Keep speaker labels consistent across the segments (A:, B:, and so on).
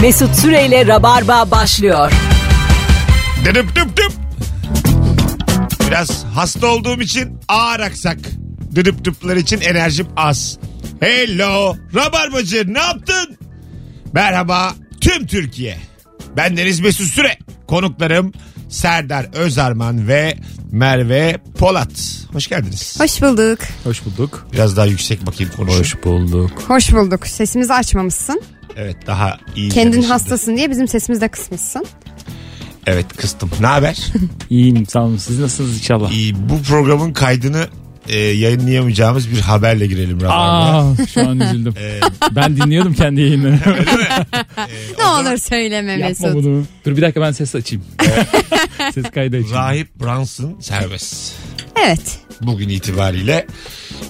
A: Mesut Süreyle Rabarba başlıyor.
B: Dıdıp dıp dıp. Biraz hasta olduğum için ağır aksak. Dıdıp dıplar için enerjim az. Hello. Rabarbacı ne yaptın? Merhaba tüm Türkiye. Ben Deniz Mesut Süre. Konuklarım Serdar Özarman ve Merve Polat. Hoş geldiniz.
C: Hoş bulduk.
D: Hoş bulduk.
B: Biraz daha yüksek bakayım konuşun.
D: Hoş bulduk.
C: Hoş bulduk. Sesimizi açmamışsın.
B: Evet daha iyi.
C: Kendin
B: demiştim.
C: hastasın diye bizim sesimizi de kısmışsın.
B: Evet kıstım. Ne haber?
D: İyiyim sağ olun. Siz nasılsınız inşallah?
B: İyi, bu programın kaydını e, yayınlayamayacağımız bir haberle girelim Rabarba'ya.
D: Aa, şu an üzüldüm. ben dinliyordum kendi yayını.
C: ne olur söyleme
D: Yapma
C: Mesut.
D: bunu. Dur bir dakika ben ses açayım. ses kaydı açayım.
B: Rahip Brunson serbest.
C: Evet.
B: Bugün itibariyle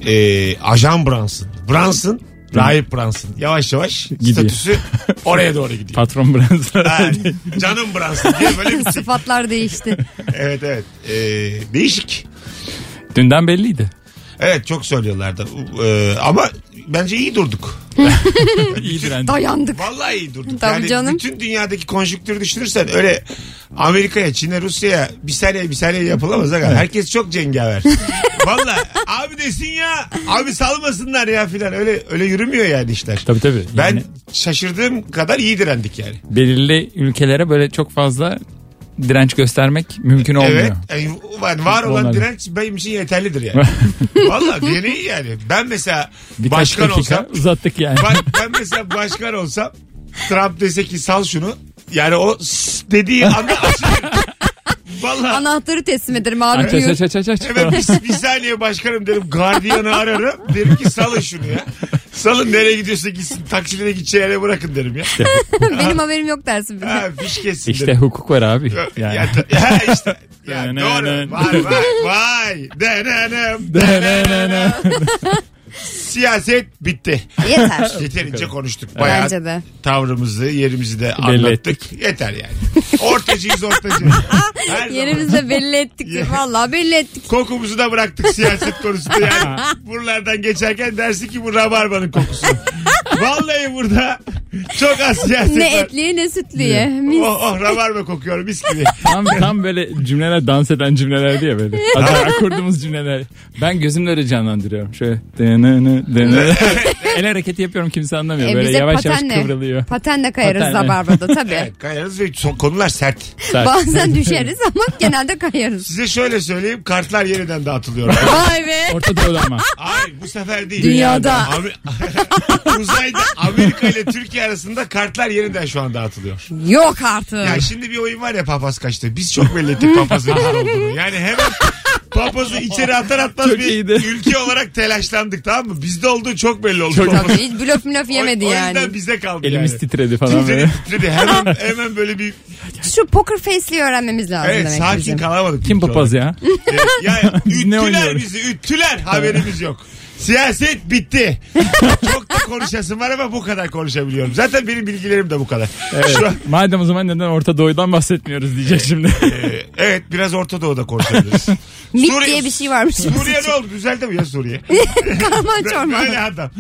B: e, Ajan Brunson. Brunson, Rahip Brunson. Yavaş yavaş
D: Gidiyor.
B: statüsü oraya doğru gidiyor.
D: Patron Branson.
B: Ha, canım Brunson diye böyle bir- şey.
C: Sıfatlar değişti.
B: Evet evet. E, değişik.
D: Dünden belliydi.
B: Evet çok söylüyorlardı. E, ama bence iyi durduk.
D: İyi direndi.
C: Dayandık.
B: Vallahi iyi durduk.
C: Tabii
B: yani
C: canım.
B: bütün dünyadaki konjüktürü düşünürsen öyle Amerika'ya, Çin'e, Rusya'ya bir saniye bir saniye yapılamaz. aga. Herkes çok cengaver. Valla abi desin ya. Abi salmasınlar ya filan. Öyle öyle yürümüyor yani işler.
D: Tabii tabii. Yani
B: Ben şaşırdığım kadar iyi direndik yani.
D: belirli ülkelere böyle çok fazla direnç göstermek mümkün olmuyor.
B: Evet. Yani var- var olan
D: Onlar-
B: direnç benim için yeterlidir yani. Valla gene iyi yani. Ben mesela
D: Birkaç
B: başkan
D: dakika
B: olsam
D: uzattık yani.
B: Ben, ben mesela başkan olsam Trump dese ki sal şunu. Yani o s- dediği anda açılır. Valla
C: Anahtarı teslim ederim abi
D: Aç aç
C: buyur.
D: aç aç aç.
B: hemen bir, bir saniye başkanım derim. Gardiyanı ararım. Derim ki salın şunu ya. Salın nereye gidiyorsa gitsin. Taksim'e gideceği yere bırakın derim ya.
C: Benim haberim yok dersin. bir de.
B: Ha, fiş kessin
D: İşte
B: derim.
D: hukuk var abi.
B: Ya,
D: Yani.
B: ya işte. Ya
D: Yani-
B: doğru. Vay vay vay. Denenem. Siyaset bitti.
C: Yeter.
B: Yeterince konuştuk. Bayağı
C: Bence de.
B: tavrımızı, yerimizi de
D: Belli
B: anlattık. Yeter yani. Ortacıyız ortacı. Her zaman.
C: Yerimizde belli ettik.
B: Ya.
C: Vallahi belli ettik.
B: Kokumuzu da bıraktık siyaset konusunda yani. Buralardan geçerken dersin ki bu rabarbanın kokusu. Vallahi burada çok az siyaset
C: Ne
B: var.
C: etliye ne sütlüye. Mis.
B: Oh, oh rabarba kokuyor mis gibi.
D: Tam, tam böyle cümleler dans eden cümleler diye böyle. Acayip kurduğumuz cümleler. Ben gözümle öyle canlandırıyorum. Şöyle denene denene. El hareketi yapıyorum kimse anlamıyor.
C: E,
D: böyle
C: bize
D: yavaş yavaş
C: patenle.
D: kıvrılıyor.
C: Patenle kayarız
D: Patenle.
C: Rabarba'da tabii.
B: Evet, kayarız ve son konular sert.
D: Sert.
C: Bazen düşeriz ama genelde kayarız.
B: Size şöyle söyleyeyim kartlar yeniden dağıtılıyor.
C: Vay be.
D: Orta doğuda ama.
B: Hayır bu sefer değil.
C: Dünyada.
B: Ami- Uzayda Amerika ile Türkiye arasında kartlar yeniden şu an dağıtılıyor.
C: Yok artık.
B: Ya şimdi bir oyun var ya papaz kaçtı. Biz çok belli ettik papazın var olduğunu. Yani hemen papazı içeri atar atmaz
D: Çok
B: bir
D: iyiydi.
B: ülke olarak telaşlandık tamam mı? Bizde olduğu çok belli oldu. papaz.
C: Tabii hiç blöf blöf yemedi
B: o, O
C: yani.
B: yüzden bize kaldı
D: Elimiz
B: yani.
D: titredi falan böyle.
B: Titredi, titredi. Hemen, hemen böyle bir
C: Şu poker face'liği öğrenmemiz lazım
B: evet,
C: demek
B: sakin
C: bizim.
B: kalamadık.
D: Kim
B: ülke
D: papaz ya?
B: olarak. Evet, ya üttüler
D: oynuyoruz?
B: bizi üttüler haberimiz yok. Siyaset bitti. Çok da konuşasım var ama bu kadar konuşabiliyorum. Zaten benim bilgilerim de bu kadar. Şu an-
D: Madem o zaman neden Orta Doğu'dan bahsetmiyoruz diyecek şimdi.
B: Ee, evet biraz Orta Doğu'da konuşabiliriz.
C: Mit
B: Suriye-
C: diye bir şey varmış.
B: Suriye ne oldu? Düzeldi mi ya Suriye?
C: Kalman çorman.
B: Böyle adam.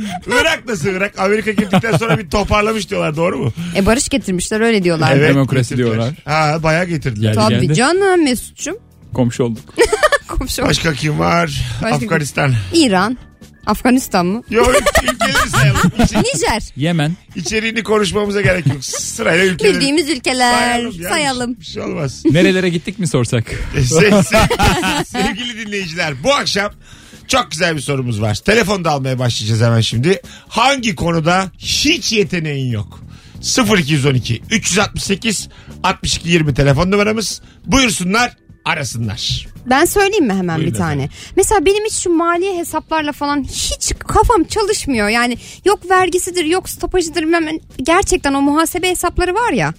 B: Irak nasıl Irak? Amerika girdikten sonra bir toparlamış diyorlar doğru mu?
C: E barış getirmişler öyle diyorlar.
D: Demokrasi
B: getirdiler.
D: diyorlar.
B: Ha bayağı getirdiler.
D: Geldi
C: Tabii
D: geldi.
C: canım Mesut'cum.
D: Komşu olduk.
C: Komşu.
B: Başka kim var?
C: Başka kim?
B: Afganistan.
C: İran. Afganistan mı?
B: Yok ülkeleri sayalım. İçi-
C: Nijer.
D: Yemen.
B: İçeriğini konuşmamıza gerek yok. Sırayla ülkeleri
C: Bildiğimiz ülkeler.
B: ya.
C: Sayalım.
B: Bir şey olmaz.
D: Nerelere gittik mi sorsak?
B: E, se- se- Sevgili dinleyiciler bu akşam çok güzel bir sorumuz var. Telefonda almaya başlayacağız hemen şimdi. Hangi konuda hiç yeteneğin yok? 0212 368 62 20 telefon numaramız. Buyursunlar arasınlar.
C: Ben söyleyeyim mi hemen
D: Buyurun
C: bir tane? Mesela benim hiç şu maliye hesaplarla falan hiç kafam çalışmıyor. Yani yok vergisidir, yok stopajıdır. bilmem ne. Gerçekten o muhasebe hesapları var ya.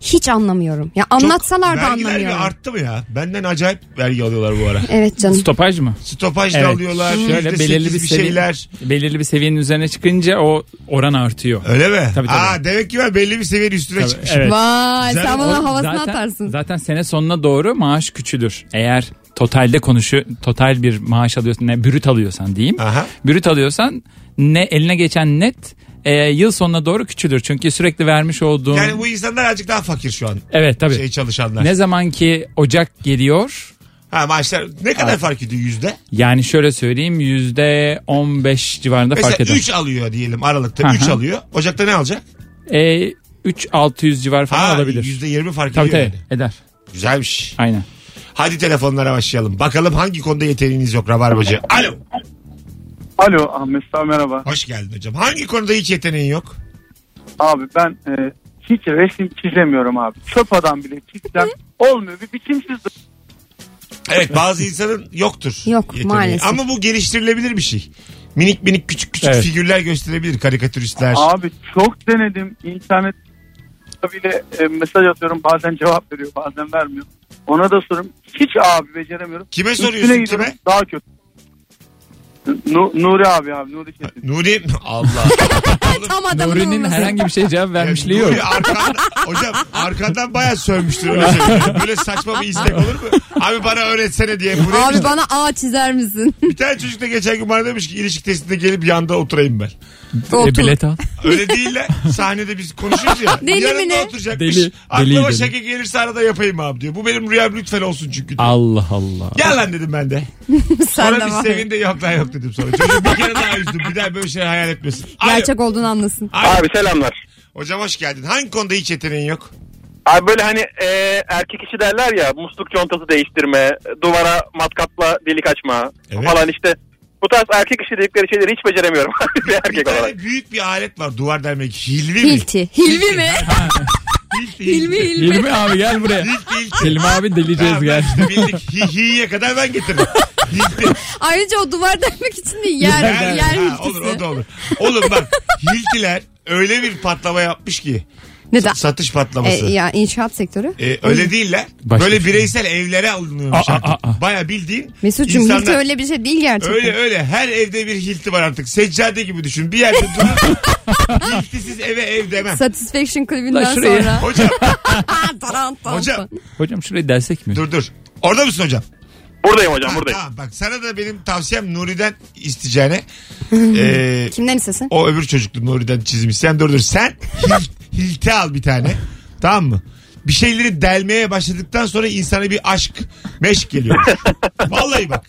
C: Hiç anlamıyorum. Ya
B: Çok
C: anlatsalar da
B: vergiler bir
C: anlamıyorum.
B: arttı mı ya? Benden acayip vergi alıyorlar bu ara.
C: Evet canım.
D: Stopaj mı?
B: Stopaj da alıyorlar.
D: Şöyle
B: %8
D: belirli bir,
B: bir
D: seviye-
B: şeyler.
D: belirli bir seviyenin üzerine çıkınca o oran artıyor.
B: Öyle mi?
D: Tabii, tabii.
B: Aa, demek ki ben belli bir seviyenin üstüne
D: Tabii,
B: çıkmışım.
D: evet.
C: Vay
B: Zaten-
C: sen bana havasını
D: zaten,
C: atarsın.
D: Zaten sene sonuna doğru maaş küçülür. Eğer totalde konuşu total bir maaş alıyorsan ne brüt alıyorsan diyeyim.
B: Aha.
D: Brüt alıyorsan ne eline geçen net e, yıl sonuna doğru küçülür. Çünkü sürekli vermiş olduğun...
B: Yani bu insanlar azıcık daha fakir şu an.
D: evet tabii.
B: Şey çalışanlar.
D: ne zaman ki Ocak geliyor
B: Ha maaşlar ne kadar fark ediyor yüzde?
D: yani şöyle söyleyeyim yüzde 15 civarında fark
B: Mesela
D: eder.
B: 3 alıyor diyelim Aralık'ta
D: Hı
B: 3
D: hı.
B: alıyor. Ocak'ta ne alacak?
D: E, 3-600 civar falan
B: Ha,
D: olabilir.
B: %20 fark
D: Tabii
B: ediyor.
D: tabii
B: yani.
D: eder.
B: Güzelmiş.
D: Aynen.
B: Hadi telefonlara başlayalım. Bakalım hangi konuda yeteneğiniz yok Rabarbacı. Alo.
E: Alo Ahmet Sağ merhaba.
B: Hoş geldin hocam. Hangi konuda hiç yeteneğin yok?
E: Abi ben e, hiç resim çizemiyorum abi. Çöp adam bile çizsem olmuyor. Bir biçimsiz dur-
B: Evet bazı insanın yoktur.
C: Yok, maalesef.
B: Ama bu geliştirilebilir bir şey. Minik minik küçük küçük
D: Evet.
B: figürler gösterebilir karikatüristler.
E: Abi çok denedim. İnternet bile e, mesaj atıyorum. Bazen cevap veriyor bazen vermiyor. Ona da sorum. Hiç abi beceremiyorum.
B: Kime
E: Üstüne
B: soruyorsun
E: gidiyorum,
B: kime?
E: Daha kötü. Nu- Nuri abi abi Nuri Çetin.
B: Nuri Allah.
C: Tam adamın
D: Nuri'nin
C: olması.
D: herhangi bir şey cevap vermişliği yok.
B: Nuri arkan, hocam arkandan bayağı sövmüştür öyle söyleyeyim. Böyle saçma bir istek olur mu? Abi bana öğretsene diye. Bu neymiş?
C: Abi bana A çizer misin?
B: Bir tane çocuk da geçen gün bana demiş ki ilişki testinde gelip yanda oturayım ben.
D: E, bilet al.
B: Öyle değil de sahnede biz konuşuyoruz ya.
C: Deli mi
B: yanında
C: ne?
B: oturacakmış.
D: Deli,
B: Aklıma
D: deli, deli.
B: şaka gelirse arada yapayım abi diyor. Bu benim rüyam lütfen olsun çünkü. Diyor.
D: Allah Allah.
B: Gel lan dedim ben de.
C: Sen
B: Sonra
C: de
B: bir
C: var.
B: sevindi yok lan yok dedim sonra. Çocuk bir kere daha üzdüm. Bir daha böyle şey hayal etmesin. Alo.
C: Gerçek olduğunu anlasın.
B: Alo.
F: Abi selamlar.
B: Hocam hoş geldin. Hangi konuda hiç yeteneğin yok?
F: Abi böyle hani e, erkek işi derler ya musluk contası değiştirme, duvara matkapla delik açma
B: Evet.
F: falan işte. Bu tarz erkek işi dedikleri şeyleri hiç beceremiyorum bir
B: Bir
F: erkek
B: tane
F: olarak.
B: büyük bir alet var duvar delmek. Hilvi mi?
C: Hilti. Hilvi mi?
B: Hilti.
C: Hilmi Hilmi.
D: Hilmi abi gel buraya.
B: Hilti. Hilti.
D: Hilmi abi deleceğiz
B: Tamam,
D: gel.
B: işte bildik. Hi, hi'ye kadar ben getirdim. Hilti.
C: Ayrıca o duvar delmek için de yer, yer,
B: Ha, Olur o
C: hiltisi.
B: da olur. Oğlum bak Hiltiler öyle bir patlama yapmış ki.
C: Neden?
B: Satış
C: E,
B: patlaması.
C: ya inşaat sektörü.
B: E, öyle değiller.
D: Başka
B: böyle
D: bir şey.
B: bireysel evlere alınıyormuş
D: Aa, aa,
B: artık.
D: aa.
B: Baya bildiğin
C: Mesut'cum
B: insanlar-
C: hilti öyle bir şey değil gerçekten.
B: Öyle öyle her evde bir hilti var artık. Seccade gibi düşün. Bir yerde durun. Hiltisiz eve ev demem.
C: Satisfaction klibinden
D: La şuraya.
C: sonra.
B: Hocam
C: Aa, taran, taran,
B: hocam
C: taran.
D: Hocam şurayı delsek mi?
B: dur dur. Orada mısın hocam?
F: Buradayım hocam buradayım.
B: Tamam bak sana da benim tavsiyem Nuri'den isteyeceğine. e,
C: Kimden istesin?
B: o öbür çocuklu Nuri'den çizim isteyen dur dur. Sen hil- hilti al bir tane. Tamam mı? Bir şeyleri delmeye başladıktan sonra insana bir aşk meşk geliyor. Vallahi bak.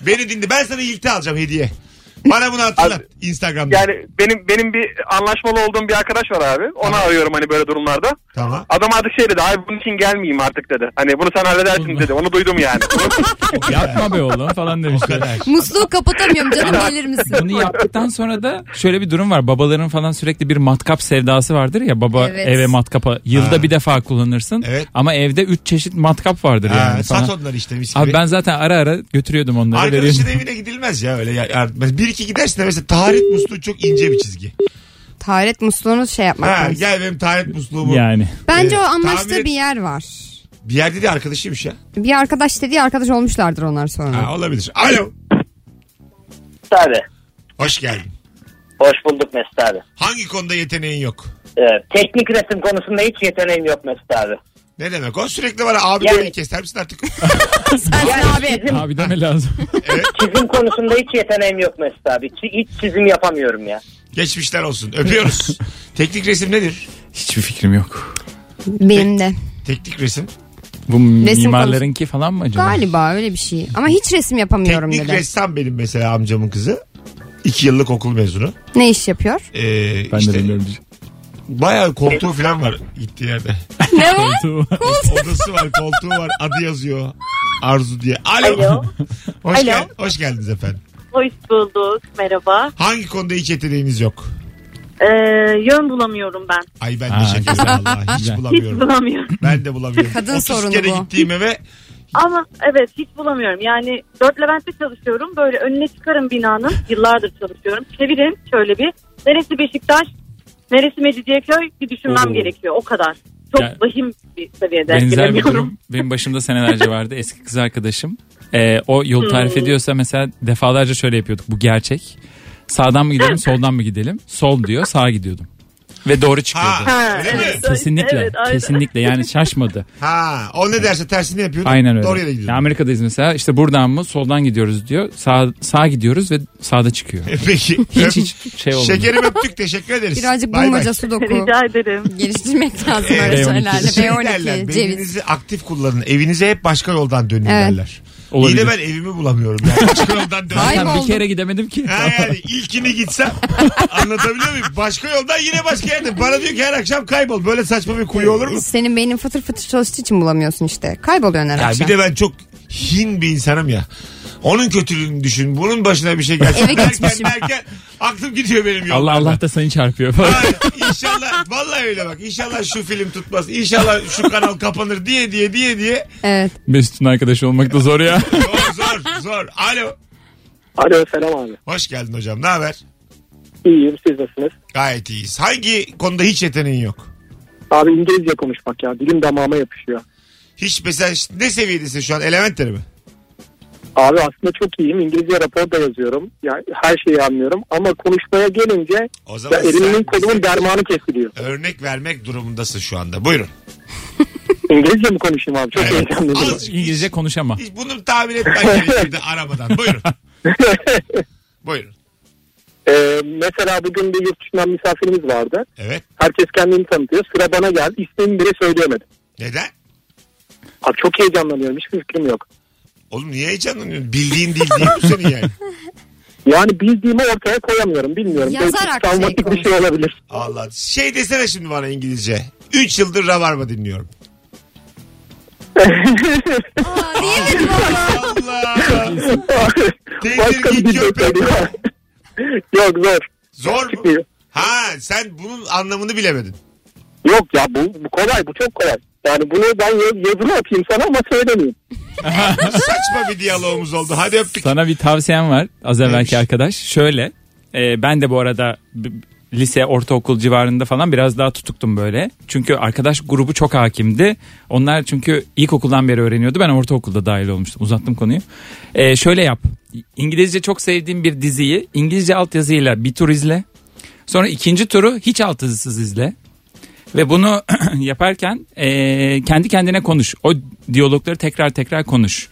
B: Beni dinle. Ben sana hilti alacağım hediye. Bana bunu hatırlat
F: Abi,
B: Instagram'da.
F: Yani benim benim bir anlaşmalı olduğum bir arkadaş var abi. Ona arıyorum hani böyle durumlarda.
B: Tamam.
F: Adam artık şey dedi abi bunun için gelmeyeyim artık dedi. Hani bunu sen halledersin dedi. Onu duydum yani.
D: Yapma be oğlum falan demişler.
C: Musluğu kapatamıyorum canım gelir misin?
D: Bunu yaptıktan sonra da şöyle bir durum var. Babaların falan sürekli bir matkap sevdası vardır ya. Baba
C: Evet.
D: eve matkapa yılda
B: Ha.
D: bir defa kullanırsın.
B: Evet.
D: Ama evde üç çeşit matkap vardır
B: Ha,
D: yani.
B: sat
D: falan.
B: onları işte mis gibi.
D: Abi ben zaten ara ara götürüyordum onları.
B: Arkadaşın
D: veriyordum.
B: evine gidilmez ya öyle. Ya, ya- bir iki gidersin de mesela taharet musluğu çok ince bir çizgi.
C: Taharet musluğunu şey yapmak
B: Ha,
C: lazım.
B: gel benim taharet musluğumu.
D: Yani.
C: Bence
B: Ee,
C: o
B: tamir et-
C: anlaştığı bir yer var.
B: Bir yerde de arkadaşıymış ya.
C: Bir arkadaş dediği arkadaş olmuşlardır onlar sonra.
B: Ha, olabilir. Alo.
G: Abi
B: Hoş geldin.
G: hoş bulduk Mesut abi.
B: Hangi konuda yeteneğin yok?
G: Ee, teknik resim konusunda hiç yeteneğim yok Mesut abi.
B: Ne demek o? Sürekli bana abi
G: Yani-
B: böyle keser misin artık?
C: Sensin abi.
G: Çizim,
D: Abi deme lazım.
G: çizim konusunda hiç yeteneğim yok Mesut abi. Çi- hiç çizim yapamıyorum ya.
B: Geçmişler olsun. Öpüyoruz. Teknik resim nedir?
D: Hiçbir fikrim yok.
C: Benim de.
B: Teknik resim.
D: Bu
C: konusu-
D: mimarlarınki falan mı acaba?
C: Galiba öyle bir şey. Ama hiç resim yapamıyorum
B: Teknik
C: dedi.
B: ressam benim mesela amcamın kızı. İki yıllık okul mezunu.
C: Ne iş yapıyor?
B: Ee,
D: Ben de
B: işte
D: bilmiyorum.
B: bayağı koltuğu falan var gittiği yerde.
C: Ne var?
B: Odası var, koltuğu var. Adı yazıyor. Arzu diye. Alo.
H: Alo.
B: Hoş,
H: Alo.
B: gel- hoş geldiniz efendim.
H: Hoş bulduk. Merhaba.
B: Hangi konuda hiç yeteneğiniz yok?
H: Ee, yön bulamıyorum ben.
B: Ay ben
D: Ha,
B: de şekerim vallahi. Hiç
D: Güzel.
H: Hiç
B: bulamıyorum.
H: bulamıyorum.
B: Ben de bulamıyorum.
C: Kadın
B: 30
C: sorunu
B: kere
C: bu.
B: gittiğim eve
H: Ama evet hiç bulamıyorum. Yani Dört Levent'te çalışıyorum. Böyle önüne çıkarım binanın. Yıllardır çalışıyorum. Çevirin şöyle bir. Neresi Beşiktaş? Neresi Mecidiyeköy? Bir düşünmem
D: Oo.
H: gerekiyor. O kadar. Çok
D: Yani-
H: vahim bir seviyede.
D: Benzer bir
H: Bilemiyorum.
D: durum benim başımda senelerce vardı eski kız arkadaşım. Ee, o yol tarif ediyorsa mesela defalarca şöyle yapıyorduk bu gerçek. Sağdan mı gidelim soldan mı gidelim? Sol diyor sağa gidiyordum. Ve doğru
B: Ha,
D: çıkıyordu.
B: öyle mi?
H: evet.
D: Kesinlikle.
H: Evet, aynen.
D: kesinlikle yani şaşmadı.
B: Ha, o ne derse tersini yapıyor.
D: Aynen öyle.
B: Doğru yere gidiyor.
D: Ya Amerika'dayız mesela işte buradan mı soldan gidiyoruz diyor. Sağ, sağa gidiyoruz ve sağda çıkıyor.
B: E, Peki.
D: Hiç hiç şey olmadı.
B: Şekerim öptük teşekkür ederiz.
C: Birazcık
B: Bay bay.
C: bulmaca sudoku
H: Rica ederim.
C: geliştirmek lazım öyle
D: Evet.
C: şeylerle.
B: Şey derler,
C: B12, ceviz.
B: beyninizi aktif kullanın. Evinize hep başka yoldan dönün
C: Evet.
B: derler.
D: Olabilir.
B: İyi de ben evimi bulamıyorum. Yani. Başka yoldan dönün.
C: Ay.
D: Zaten
C: Kayboldum.
D: bir kere gidemedim ki.
B: Ha yani ilkini gitsem anlatabiliyor muyum? Başka yoldan yine başka yerde. Bana diyor ki her akşam kaybol. Böyle saçma bir kuyu olur mu?
C: Senin beynin fıtır fıtır çalıştığı için bulamıyorsun işte. Kayboluyorsun her
B: Ya
C: akşam.
B: bir de ben çok hin bir insanım ya. Onun kötülüğünü düşün. Bunun başına bir şey gelsin.
C: Eve geçmişim.
B: Derken, derken aklım gidiyor benim yoldan.
D: Allah Allah da seni çarpıyor falan.
B: Hayır, İnşallah vallahi öyle bak. İnşallah şu film tutmaz. İnşallah şu kanal kapanır diye diye diye diye.
C: Evet.
D: Mesut'un arkadaşı olmak da zor ya.
B: Zor zor zor. Alo.
G: Alo selam abi.
B: Hoş geldin hocam. Ne haber?
G: İyiyim siz nasılsınız?
B: Gayet iyiyiz. Hangi konuda hiç yeteneğin yok?
G: Abi İngilizce konuşmak ya dilim damağıma yapışıyor.
B: Hiç mesela ne seviyedesin şu an? Elementleri mi?
G: Abi aslında çok iyiyim. İngilizce rapor da yazıyorum. Yani her şeyi anlıyorum. Ama konuşmaya gelince
B: O
G: ya
B: zaman sen
G: elimin kolumun dermanı kesiliyor.
B: örnek vermek durumundasın şu anda. Buyurun.
G: İngilizce mi konuşayım abi? Çok
B: Evet.
G: heyecanlıyım.
B: Azıcık
D: İngilizce
B: hiç-
D: konuşama.
B: hiç bunu tahmin etmen gerekirdi aramadan. Buyurun. Buyurun.
G: Ee, mesela bugün bir yurt dışından misafirimiz vardı.
B: Evet.
G: Herkes kendini tanıtıyor. Sıra bana geldi. İsmimi bile söyleyemedim.
B: Neden?
G: Abi çok heyecanlanıyorum. Hiçbir fikrim yok.
B: Oğlum niye heyecanlanıyorsun? Bildiğin değil değil mi senin yani?
G: Yani bildiğimi ortaya koyamıyorum. Bilmiyorum.
C: Yazarak
G: Belki
C: şey
G: travmatik
C: konuş.
G: bir şey olabilir.
B: Allah. Şey desene şimdi bana İngilizce. 3 yıldır Rabarba dinliyorum.
C: Aa, diyemedim ama.
B: Allah.
G: Başka bir
B: Tedirgin
G: şey
B: köpek.
G: söylüyor. Yok zor.
B: Zor mu?
G: Çıkmıyor.
B: Ha sen bunun anlamını bilemedin.
G: Yok ya bu, bu kolay. Bu çok kolay. Yani bunu ben ya- yazılı atayım sana ama söylemeyeyim.
B: Saçma bir diyalogumuz oldu. Hadi öptük.
D: Sana bir tavsiyem var az evvelki
B: Neymiş?
D: arkadaş. Şöyle e, ben de bu arada b- lise ortaokul civarında falan biraz daha tutuktum böyle. Çünkü arkadaş grubu çok hakimdi. Onlar çünkü ilkokuldan beri öğreniyordu. Ben ortaokulda dahil olmuştum. Uzattım konuyu. E, şöyle yap. İngilizce çok sevdiğim bir diziyi İngilizce altyazıyla bir tur izle. Sonra ikinci turu hiç altyazısız izle. Ve bunu yaparken e, kendi kendine konuş. O diyalogları tekrar tekrar konuş.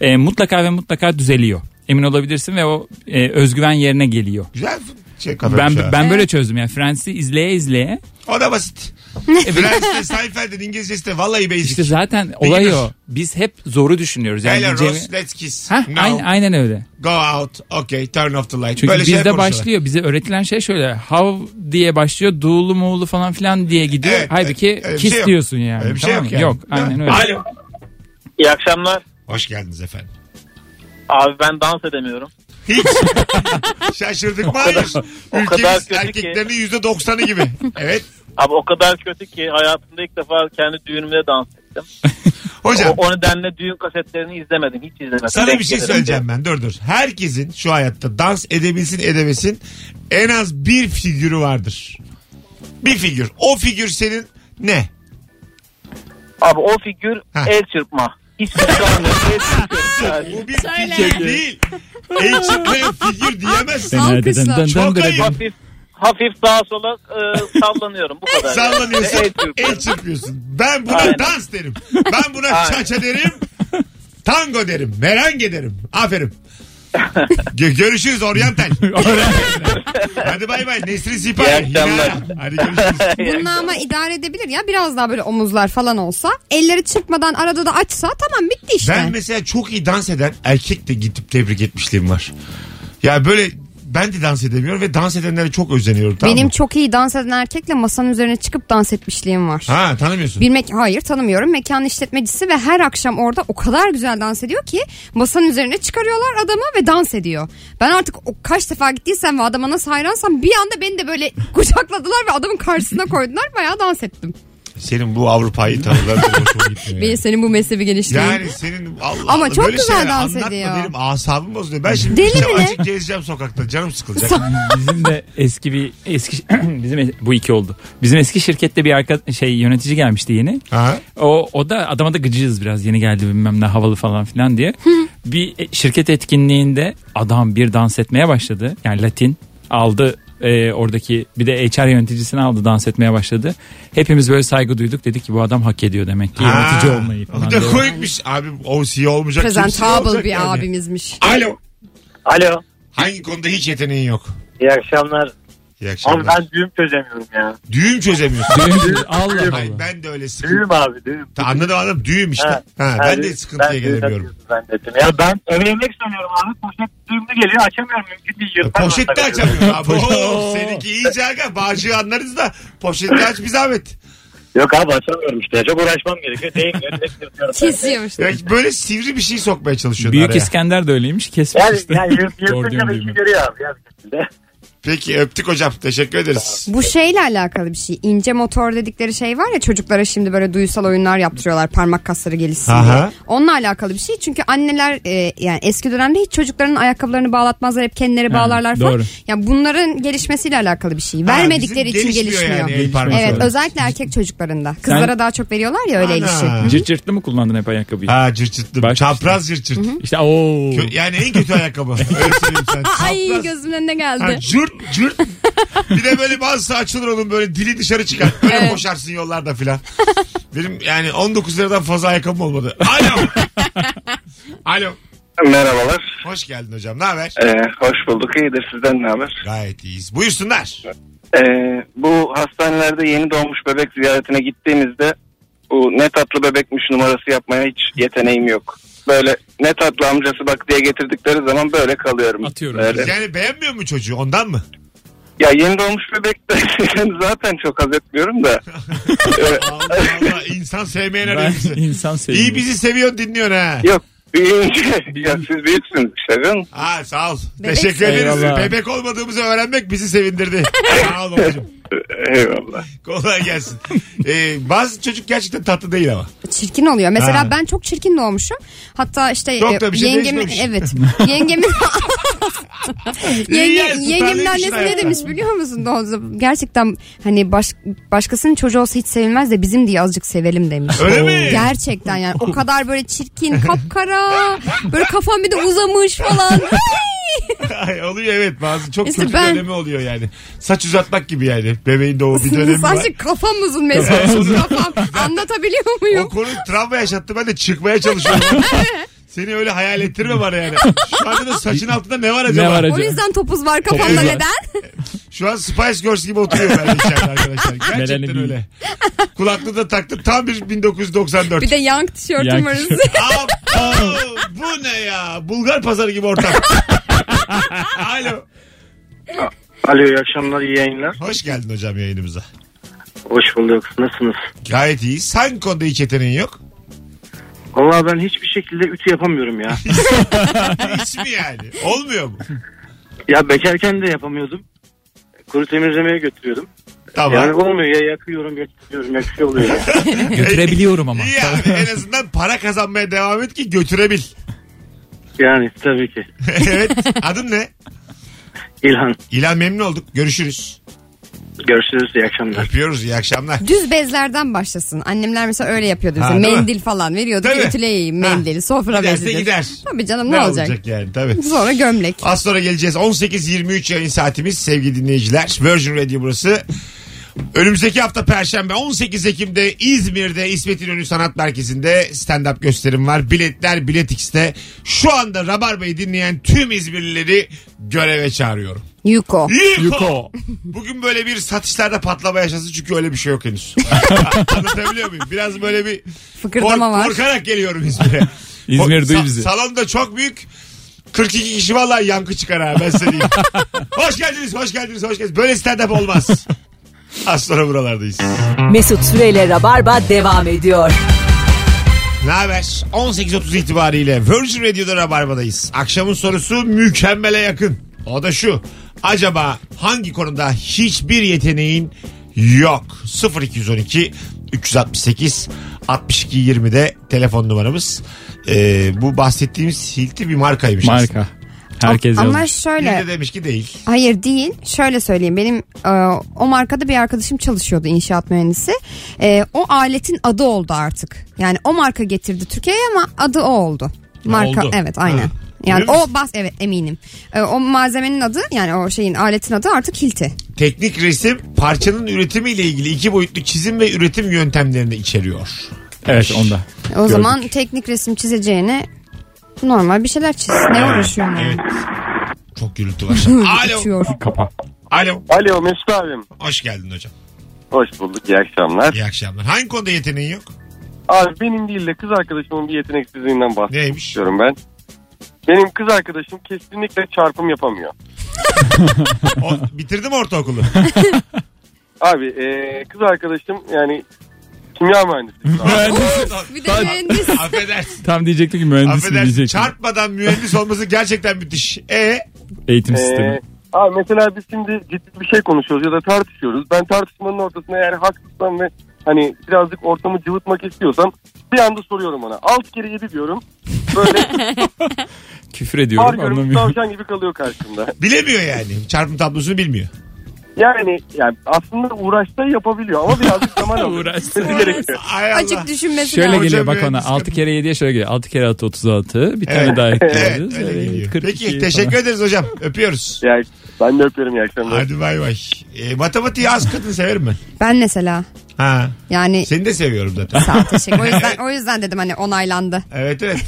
D: E, mutlaka ve mutlaka düzeliyor. Emin olabilirsin ve o e, özgüven yerine geliyor.
B: Güzel şey kafamış
D: ben
B: ha.
D: ben böyle çözdüm yani Friends'i izleye izleye.
B: O da basit. E, Fransızca, Seinfeld'in İngilizcesi de vallahi basic.
D: İşte zaten olay o. Biz hep zoru düşünüyoruz. Yani
B: Hello
D: diyeceğimi-
B: Ross, let's kiss.
D: Hah,
B: no.
D: aynen, aynen öyle.
B: Go out. Okay, turn off the light.
D: Çünkü
B: Böyle şeyler
D: bizde
B: konuşuyorlar.
D: başlıyor. Bize öğretilen şey şöyle. How diye başlıyor. Doğulu muğlu falan filan diye gidiyor.
B: Evet,
D: Halbuki
B: evet, öyle bir
D: kiss
B: şey yok.
D: diyorsun yani.
B: Öyle bir şey
D: tamam
B: yok
D: mı?
B: yani.
D: aynen öyle.
B: Alo.
F: İyi akşamlar.
B: Hoş geldiniz efendim.
F: Abi ben dans edemiyorum.
B: Hiç. Şaşırdık mı? Hayır.
F: o kadar
B: Ülkemiz
F: kötü ki.
B: erkeklerinin yüzde doksanı gibi. Evet.
F: Abi o kadar kötü ki hayatımda ilk defa kendi düğünümde dans ettim.
B: Hocam
F: O, o nedenle düğün kasetlerini izlemedim. Hiç izlemedim.
B: sana
F: Denk
B: bir şey
F: gelirim
B: söyleyeceğim ben. Dur dur. Herkesin şu hayatta dans edebilsin edemesin en az bir figürü vardır. Bir figür. O figür senin ne?
F: diye. Abi o figür
B: Ha.
F: el çırpma. Hiç zorlanmıyor. El çırpıyor.
B: Bu bir figür değil. El çıplayan figür diyemezsin.
C: Alkışlar.
B: Çok ayıp.
F: hafif hafif sağa sola e, sallanıyorum bu kadar.
B: Sallanıyorsun,
F: Ve el
I: E-
F: çırpıyorum.
B: el çırpıyorsun. Ben buna
F: Aynen.
B: dans derim. Ben buna
F: Aynen.
B: çaça derim. Tango derim. Merengue derim. Aferin. Gö- görüşürüz Oriental. Hadi bay bay. Nesrin Sipahi.
F: İyi akşamlar.
B: Hina. Hadi görüşürüz.
C: Bununla ama idare edebilir ya. Biraz daha böyle omuzlar falan olsa. Elleri çırpmadan arada da açsa tamam bitti işte.
B: Ben mesela çok iyi dans eden erkek de gidip tebrik etmişliğim var. Ya böyle ben de dans edemiyorum ve dans edenlere çok özeniyorum. Tamam
C: Benim
B: mı?
C: çok iyi dans eden erkekle masanın üzerine çıkıp dans etmişliğim var.
B: Ha tanımıyorsun.
C: Bir mek hayır tanımıyorum. Mekan işletmecisi ve her akşam orada o kadar güzel dans ediyor ki masanın üzerine çıkarıyorlar adamı ve dans ediyor. Ben artık o kaç defa gittiysem ve adama nasıl hayransam bir anda beni de böyle kucakladılar ve adamın karşısına koydular. Bayağı dans ettim.
B: Senin bu Avrupa'yı tanıdılar.
C: Ve senin bu mezhebi genişliğin.
B: Yani senin Allah
C: Ama
B: Allah,
C: çok
B: böyle
C: güzel
B: şeyler
C: dans
B: anlatma
C: ediyor.
B: Benim asabım bozuluyor. Ben şimdi
C: Deli
B: gideceğim,
C: mi ne?
B: açık gezeceğim sokakta. Canım sıkılacak.
D: bizim de eski bir eski bizim es- bu iki oldu. Bizim eski şirkette bir arka şey yönetici gelmişti yeni.
B: ha?
D: O o da adama da gıcıyız biraz yeni geldi bilmem ne havalı falan filan diye. bir e, şirket etkinliğinde adam bir dans etmeye başladı. Yani Latin aldı E, oradaki bir de HR yöneticisini aldı dans etmeye başladı. Hepimiz böyle saygı duyduk. Dedik ki bu adam hak ediyor demek ki.
B: Ha,
I: Yönetici olmayı falan.
B: Bu da
I: diye.
B: koyukmuş. Abi o CEO olmayacak. kim CEO
C: Presentable
B: şey olacak
C: bir
B: yani?
C: abimizmiş.
B: Alo.
E: Alo.
B: Hangi konuda hiç yeteneğin yok?
E: İyi akşamlar.
B: İyi
E: Abi
B: akşamlar.
E: ben düğüm çözemiyorum ya.
B: Düğüm çözemiyorsun.
D: Allah
B: Ay,
D: Allah.
B: ben de öyle sıkıntı.
E: Düğüm abi düğüm.
B: Ta, anladım anladım düğüm işte. Ha,
E: Ha,
B: ben de
E: düğüm-
B: sıkıntıya
E: ben düğüm
B: gelemiyorum.
E: açıyorsun zannettim. Ya ben eve yemek söylüyorum abi. Poşet düğümlü geliyor açamıyorum. Mümkün değil. Yırtar
B: Poşet de
E: yırtar.
B: açamıyor abi. Oo, seninki iyice aga. Bağcığı anlarız da poşet de aç bir zahmet.
E: Yok abi açamıyorum işte. Çok uğraşmam gerekiyor. Değmiyor. direkt yırtıyorum.
C: Kesiyormuş.
B: Ya böyle sivri bir şey sokmaya çalışıyorsun
D: Büyük
B: araya.
D: İskender de öyleymiş. Kesmiş
E: Yani,
D: işte.
E: yani şey yırt,
D: Doğru
E: yırtınca da
D: diyorum
E: işi
D: değil
E: görüyor abi. Ya, bir şekilde.
B: Peki öptük hocam. Teşekkür ederiz.
C: Bu şeyle alakalı bir şey. İnce motor dedikleri şey var ya çocuklara şimdi böyle duysal oyunlar yaptırıyorlar parmak kasları gelişsin diye.
B: Aha.
C: Onunla alakalı bir şey. Çünkü anneler e, yani eski dönemde hiç çocukların ayakkabılarını bağlatmazlar hep kendileri bağlarlar falan.
D: doğru.
C: Yani bunların gelişmesiyle alakalı bir şey.
B: Ha,
C: Vermedikleri
B: bizim
C: için gelişmiyor.
B: yani el parmağı.
C: Evet
D: Mesela.
C: özellikle erkek çocuklarında. Kızlara daha çok veriyorlar ya öyle
B: Ana.
C: ilişki.
D: Cırt cırtlı mı kullandın hep ayakkabıyı?
B: Ha cırcırtlı.
D: Bak
B: Çapraz cırcırt.
D: İşte ooo.
B: Kö- Yani en kötü ayakkabı. Öyle söyleyeyim sana.
C: Ay
B: Çapraz.
C: gözümün önüne geldi.
B: Ha, cırt cırt. Bir de böyle bazısı açılır onun böyle dili dışarı çıkar. Böyle koşarsın yollarda filan. Benim yani 19 liradan fazla ayakkabım olmadı. Alo. Alo.
F: Merhabalar.
B: Hoş geldin hocam. Ne haber?
F: Ee, hoş bulduk. İyidir sizden ne haber?
B: Gayet iyiyiz. Buyursunlar.
F: Ee, bu hastanelerde yeni doğmuş bebek ziyaretine gittiğimizde bu ne tatlı bebekmiş numarası yapmaya hiç yeteneğim yok. Böyle ne tatlı amcası bak diye getirdikleri zaman böyle kalıyorum.
D: Atıyorum.
F: Böyle.
B: Yani beğenmiyor mu çocuğu ondan mı?
F: Ya yeni doğmuş bebek de zaten çok haz etmiyorum da. Ee,
B: Allah Allah insan sevmeyen arıyor
D: Ben
B: bizi.
D: insan seviyorum.
B: İyi bizi seviyor dinliyorsun ha.
F: yok büyüyünce ya siz büyüksünüz şey şefim.
B: Ha sağ ol.
C: Bebek
B: Teşekkür ederiz.
D: Eyvallah.
B: Bebek olmadığımızı öğrenmek bizi sevindirdi. sağ ol babacığım.
F: Eyvallah.
B: Kolay gelsin. Ee, bazı çocuk gerçekten tatlı değil ama.
C: çirkin oluyor. Mesela
B: Ha.
C: ben çok çirkin doğmuşum. Hatta işte
B: Çok da bir şey
C: yengemin
B: değişmemiş.
C: evet. Yengemin
B: İyi
C: Yenge,
B: yani,
C: yengemin
B: tutarlıymışsın
C: annesi ne
B: hayatta.
C: demiş biliyor musun Doğru. Gerçekten hani baş, başkasının çocuğu olsa hiç sevilmez de bizim diye azıcık sevelim demiş.
B: Öyle mi?
C: Gerçekten yani o kadar böyle çirkin kapkara böyle kafam bir de uzamış falan.
B: Ay, oluyor evet bazı çok
C: İşte
B: kötü
C: ben-
B: dönemi oluyor yani. Saç uzatmak gibi yani. Bebeğin doğu bir dönemi var.
C: Sadece kafam uzun mesela. kafam. Anlatabiliyor
B: O
C: muyum?
B: konu travma yaşattı ben de çıkmaya çalışıyorum. Seni öyle hayal ettirme bana yani. Şu anda da saçın altında ne var acaba?
D: Ne var
C: O
D: acaba?
C: yüzden topuz var kafamda
D: var.
C: neden?
B: Şu an Spice Girls gibi oturuyor ben de içeride arkadaşlar. Gerçekten
D: Melanie
B: öyle. Kulaklığı da taktım tam bir 1994.
C: Bir de yank tişörtüm
D: Yank
C: var.
D: tişört.
B: Abo, bu ne ya? Bulgar pazarı gibi ortam. Alo.
E: Alo iyi akşamlar iyi yayınlar.
B: Hoş geldin hocam yayınımıza.
E: Hoş bulduk. Nasılsınız?
B: Gayet iyiyiz. Hangi konuda hiç yeteneğin yok?
E: Vallahi ben hiçbir şekilde ütü yapamıyorum ya.
B: Hiç mi yani? Olmuyor mu?
E: ya bekarken de yapamıyordum. Kuru temizlemeye götürüyordum.
B: Tamam.
E: Yani olmuyor ya yakıyorum ya tutuyorum ya bir şey oluyor ya.
D: Götürebiliyorum ama.
B: İyi abi en azından para kazanmaya devam et ki götürebil.
E: Yani tabii ki.
B: evet. Adın ne?
E: İlhan
B: İlan memnun olduk. Görüşürüz.
E: görüşürüz iyi akşamlar.
B: Öpüyoruz. iyi akşamlar.
C: Düz bezlerden başlasın. Annemler mesela öyle yapıyordu.
B: Ha,
C: bize.
B: değil mi?
C: mendil falan veriyordu.
B: Tabii.
C: ki ütüleyeyim mendili. Sofra
B: Giderse
C: bezidir.
B: gider.
C: Tabii canım ne, olacak?
B: yani tabii.
C: Sonra gömlek.
B: Az sonra geleceğiz. 18.23 yayın saatimiz sevgili dinleyiciler. Virgin Radio burası. Önümüzdeki hafta Perşembe 18 Ekim'de İzmir'de İsmet İnönü Sanat Merkezi'nde stand-up gösterim var. Biletler Bilet X'te. Şu anda Rabarba'yı dinleyen tüm İzmirlileri göreve çağırıyorum.
C: Yuko.
B: Yuko.
D: Yuko.
B: Bugün böyle bir satışlarda patlama yaşasın çünkü öyle bir şey yok henüz. Anlatabiliyor muyum? Biraz böyle bir
C: Fıkırdama
B: kork-
C: var.
B: korkarak geliyorum İzmir'e.
D: İzmir
B: O-
D: duy
B: sa-
D: bizi.
B: Salon da çok büyük. 42 kişi vallahi yankı çıkar ha ben size diyeyim. hoş geldiniz, hoş geldiniz, hoş geldiniz. Böyle stand-up olmaz. Az sonra buralardayız.
A: Mesut Süreyle Rabarba devam ediyor.
B: Ne haber? 18.30 itibariyle Virgin Radio'da Rabarba'dayız. Akşamın sorusu mükemmele yakın. O da şu. Acaba hangi konuda hiçbir yeteneğin yok? 0212 368 62 20'de telefon numaramız. Ee, bu bahsettiğimiz Hilti bir markaymış. aslında.
D: Marka. Herkes
C: Ama
D: yazmış.
B: Biri
C: şöyle
B: de demiş ki değil.
C: hayır değil şöyle söyleyeyim benim e, o markada bir arkadaşım çalışıyordu inşaat mühendisi E, o aletin adı oldu artık yani o marka getirdi Türkiye'ye ama adı o oldu marka
B: oldu.
C: evet aynen
B: Ha.
C: Yani
B: Değil mi?
C: o bas evet eminim. Ee, o malzemenin adı yani o şeyin aletin adı artık hilti.
B: Teknik resim parçanın üretimiyle ilgili iki boyutlu çizim ve üretim yöntemlerini içeriyor.
D: Evet onda.
C: O zaman teknik resim çizeceğine normal bir şeyler çiz. Ne uğraşıyorsun?
B: Evet.
C: yani?
B: Çok gürültü var. Alo.
C: Uçuyor.
D: Kapa.
B: Alo.
I: Alo Mesut abim.
B: Hoş geldin hocam.
I: Hoş bulduk iyi akşamlar.
B: İyi akşamlar. Hangi konuda yeteneğin yok?
I: Abi benim değil de kız arkadaşımın bir yeteneksizliğinden bahsetmek
B: Neymiş?
I: istiyorum ben. Benim kız arkadaşım kesinlikle çarpım yapamıyor.
B: O, bitirdim ortaokulu.
I: Abi e, kız arkadaşım yani kimya mühendisi.
D: Mühendis.
C: Bir de mühendis.
B: Affedersin.
D: Tam diyecektim ki mühendisim
B: Affedersin.
D: diyecektim.
B: Çarpmadan mühendis olması gerçekten müthiş. E
D: Eğitim
I: Ee,
D: sistemi.
I: abi mesela biz şimdi ciddi bir şey konuşuyoruz ya da tartışıyoruz. Ben tartışmanın ortasında eğer haksızsam ve hani birazcık ortamı cıvıtmak istiyorsam bir anda soruyorum ona. Alt kere yedi diyorum. Böyle
D: Küfür ediyorum
I: bağırıyorum
D: anlamıyorum.
I: tavşan gibi kalıyor karşımda.
B: bilemiyor yani. Çarpım tablosunu bilmiyor.
I: Yani, yani aslında uğraşta yapabiliyor ama birazcık zaman alıyor.
D: Uğraşsa.
I: Gitmesi gerekiyor.
B: Ay Allah.
C: Açık düşünmesi
D: Şöyle
C: lazım.
D: geliyor bak
B: Hocam
D: ona.
B: mühendis
D: 6 kere 7'ye şöyle geliyor. 6 kere 6 36. Bir
B: Evet.
D: tane daha
B: Evet,
D: ekliyoruz.
B: öyle geliyor.
D: 42
B: Peki
D: şey falan.
B: teşekkür ederiz hocam. Öpüyoruz.
I: Yani ben de öpüyorum iyi akşamlar.
B: Hadi bay bay. E, matematiği az kadın severim ben.
C: Ben mesela
B: Ha.
C: yani
B: Seni de seviyorum zaten.
C: sağ ol, teşekkür. O yüzden o yüzden dedim hani onaylandı.
B: Evet evet.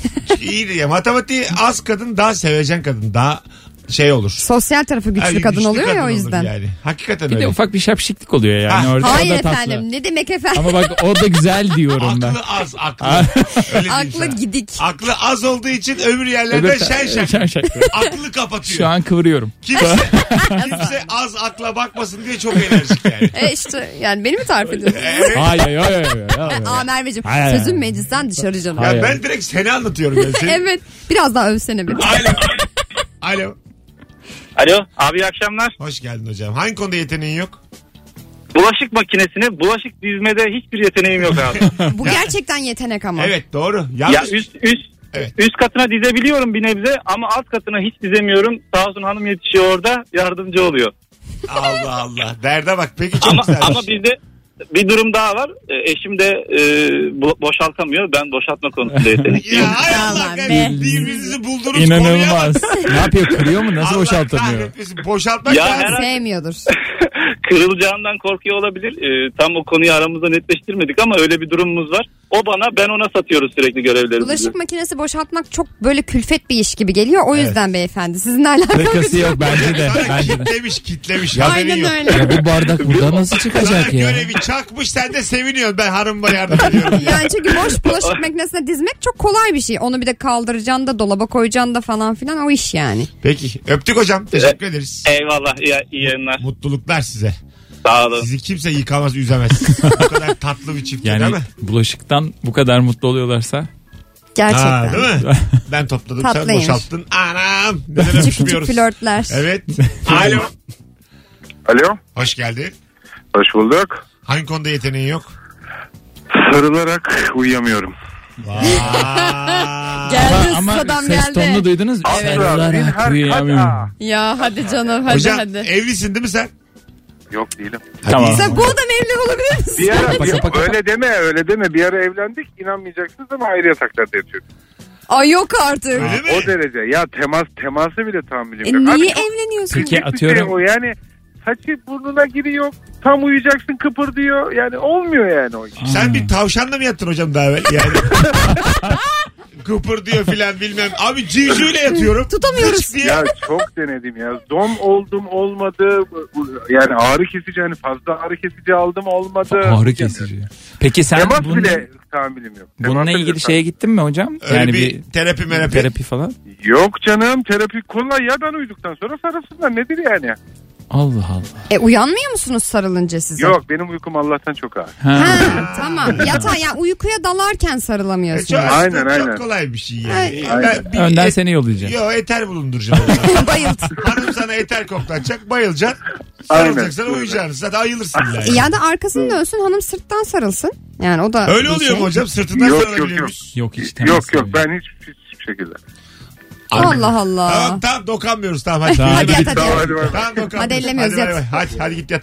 B: İyi ya. Matematiği az kadın daha sevecen kadın. Daha şey olur.
C: Sosyal tarafı güçlü
B: Ay,
C: kadın oluyor ya
B: kadın
C: o
B: olur
C: yüzden.
B: Yani. Hakikaten
D: Bir
B: öyle.
D: de ufak bir şapşiklik oluyor yani.
B: Ah.
D: Orada o
C: Hayır
D: da tatlı.
C: efendim ne demek efendim?
D: Ama bak o da güzel diyorum ben.
B: Aklı az aklı.
D: Ah.
B: Öyle diyeyim
C: Aklı
B: sana.
C: gidik.
B: Aklı az olduğu için öbür yerlerde
D: Öbür-
B: şen şen.
D: şen şen.
B: Aklı kapatıyor.
D: Şu an kıvırıyorum.
B: Kimse, kimse az akla bakmasın diye çok enerjik yani.
C: E işte yani beni mi tarif ediyorsun?
B: Evet.
D: Hayır hayır hayır. hayır, hayır.
C: Aa Merveciğim
D: Hayır.
C: sözün meclisten dışarı canım.
D: Hayır.
B: Ya ben direkt seni anlatıyorum. Yani. Seni-
C: Evet biraz daha övsene bir.
B: Alo. Alo.
J: Alo abi iyi akşamlar.
B: Hoş geldin hocam. Hangi konuda yeteneğin yok?
J: Bulaşık makinesine bulaşık dizmede hiçbir yeteneğim yok abi.
C: Bu gerçekten yetenek ama.
B: Evet doğru.
J: ya
B: Yanlış.
J: üst üst
B: Evet.
J: üst katına dizebiliyorum bir nebze ama alt katına hiç dizemiyorum. Sağ olsun hanım yetişiyor orada yardımcı oluyor.
B: Allah Allah. Derde bak peki çok
J: ama
B: güzel.
J: ama bizde bir durum daha var. E, Eşim de e, bo- boşaltamıyor. Ben boşaltma konusunda yetenekliyim.
B: Ya hay Allah
C: Aman be.
B: kahretsin. Birbirinizi buldunuz. konuya bak.
D: İnanılmaz. ne yapıyor kırıyor mu nasıl
B: Allah
D: boşaltamıyor?
B: kahretmesin. Boşaltmak
J: Ya
B: lazım.
J: her-
C: Sevmiyordur.
J: Kırılacağından korkuyor olabilir. E, tam o konuyu aramızda netleştirmedik ama öyle bir durumumuz var. O bana ben ona satıyoruz sürekli görevlerimizi.
C: Bulaşık makinesi boşaltmak çok böyle külfet bir iş gibi geliyor. O
B: Evet.
C: yüzden beyefendi sizin alakanız
D: Takası
C: yok.
D: yok bence de.
B: Sana
D: Bence de.
B: kitlemiş kitlemiş. Haberin
C: Aynen
B: yok.
C: öyle.
D: Ya bu bardak burada nasıl
B: Sana
D: çıkacak ya?
B: görevi çakmış sen de seviniyorsun. Ben hanımıma yardım ediyorum. diye.
C: Yani çünkü boş bulaşık makinesine dizmek çok kolay bir şey. Onu bir de kaldıracaksın da dolaba koyacaksın da falan filan o iş yani.
B: Peki öptük hocam. Teşekkür ederiz.
J: Eyvallah iyi, iyi yayınlar.
B: Mutluluklar size.
J: Sağ olun.
B: Sizi kimse yıkamaz, üzemez. Bu kadar tatlı bir çift değil
D: Yani
B: mi?
D: bulaşıktan bu kadar mutlu oluyorlarsa
B: Ha,
C: Gerçekten.
B: değil mi? Ben topladım, sen
C: Tatlıymış.
B: boşalttın. Anam! Neden
C: Küçük küçük
B: öpüşmüyoruz?
C: flörtler.
B: Evet. Alo.
I: Alo.
B: Hoş geldin.
I: Hoş bulduk.
B: Hangi konuda yeteneğin yok?
I: Sarılarak uyuyamıyorum.
B: Vay.
C: Geldi
D: ama
C: adam
D: ses
C: geldi.
D: tonunu duydunuz mu?
I: Evet.
D: Sarılarak uyuyamıyorum.
C: Ya hadi canım hadi
B: Hocam e-
C: hadi.
B: evlisin değil mi sen?
I: Yok değilim.
D: Tamam.
C: Sen bu adam evli olabilir misin?
I: Bir ara,
D: Paka,
I: bir-
D: paka, paka.
I: öyle deme öyle deme. Bir ara evlendik inanmayacaksınız ama ayrı yataklarda yatıyoruz.
C: Ay yok artık.
B: Öyle mi?
I: O derece. Ya temas teması bile tahammülüm
C: E
I: yok. Abi
C: niye
I: çok
C: evleniyorsun?
D: Peki
I: küçük bir
D: atıyorum.
I: Şey o yani saçı burnuna giriyor. Tam uyuyacaksın kıpırdıyor. Yani olmuyor yani o iş.
B: Sen
D: Hmm.
B: bir tavşanla mı yattın hocam daha evvel? Yani. Kıpır diyor filan bilmem. Abi civcivle yatıyorum.
C: Tutamıyoruz.
B: Fıç diye.
I: Ya çok denedim ya. Zom oldum olmadı. Yani ağrı kesici hani fazla ağrı kesici aldım olmadı.
D: Ağrı kesici. Peki sen
I: Temas
D: bunun,
I: bile tahammülüm yok. Temas
D: bununla
I: bile
D: ilgili şey-
I: tahammülüm
D: şeye gittin mi hocam?
B: Öyle
D: yani
B: bir,
D: bir
B: terapi merapi.
D: terapi falan.
I: yok. Yok canım terapi kolay ya ben uyuduktan sonra sarılsınlar nedir yani?
D: Allah Allah.
C: E uyanmıyor musunuz sarılınca size?
I: Yok benim uykum Allah'tan çok ağır.
D: Ha.
C: Ha, tamam. Yatağa ya uykuya dalarken
B: E, çok,
C: sarılamıyorsunuz.
I: Aynen,
B: çok
I: aynen.
B: kolay bir şey yani.
C: Ay,
B: Ben bir
D: Önden
C: e-
B: et-
D: seni yollayacağım.
B: Yo eter bulunduracağım. ona.
C: Bayılt.
B: Hanım sana eter koklatacak bayılacaksın.
I: Aynen.
B: Sarılacak sana uyuyacaksın. Zaten ayılırsın.
C: E,
B: Yani.
C: ya da arkasını dönsün hanım sırttan sarılsın. Yani o da
B: Öyle
C: bir
B: oluyor
C: şey.
B: mu hocam? Sırtından
I: Yok, yok,
B: sarılabiliyormuş.
D: Yok hiç temas
I: Yok yok
D: yok.
I: ben hiç, hiç, hiçbir şekilde.
C: Allah Allah.
B: Tamam tamam dokanmıyoruz tamam hadi.
D: Tamam,
C: Hadi yat hadi.
I: Tamam
C: yat.
I: hadi bay bay.
B: Tamam dokanmıyoruz.
C: Hadi ellemiyoruz,
B: hadi, bay
C: yat.
B: bay. Hadi, hadi git yat.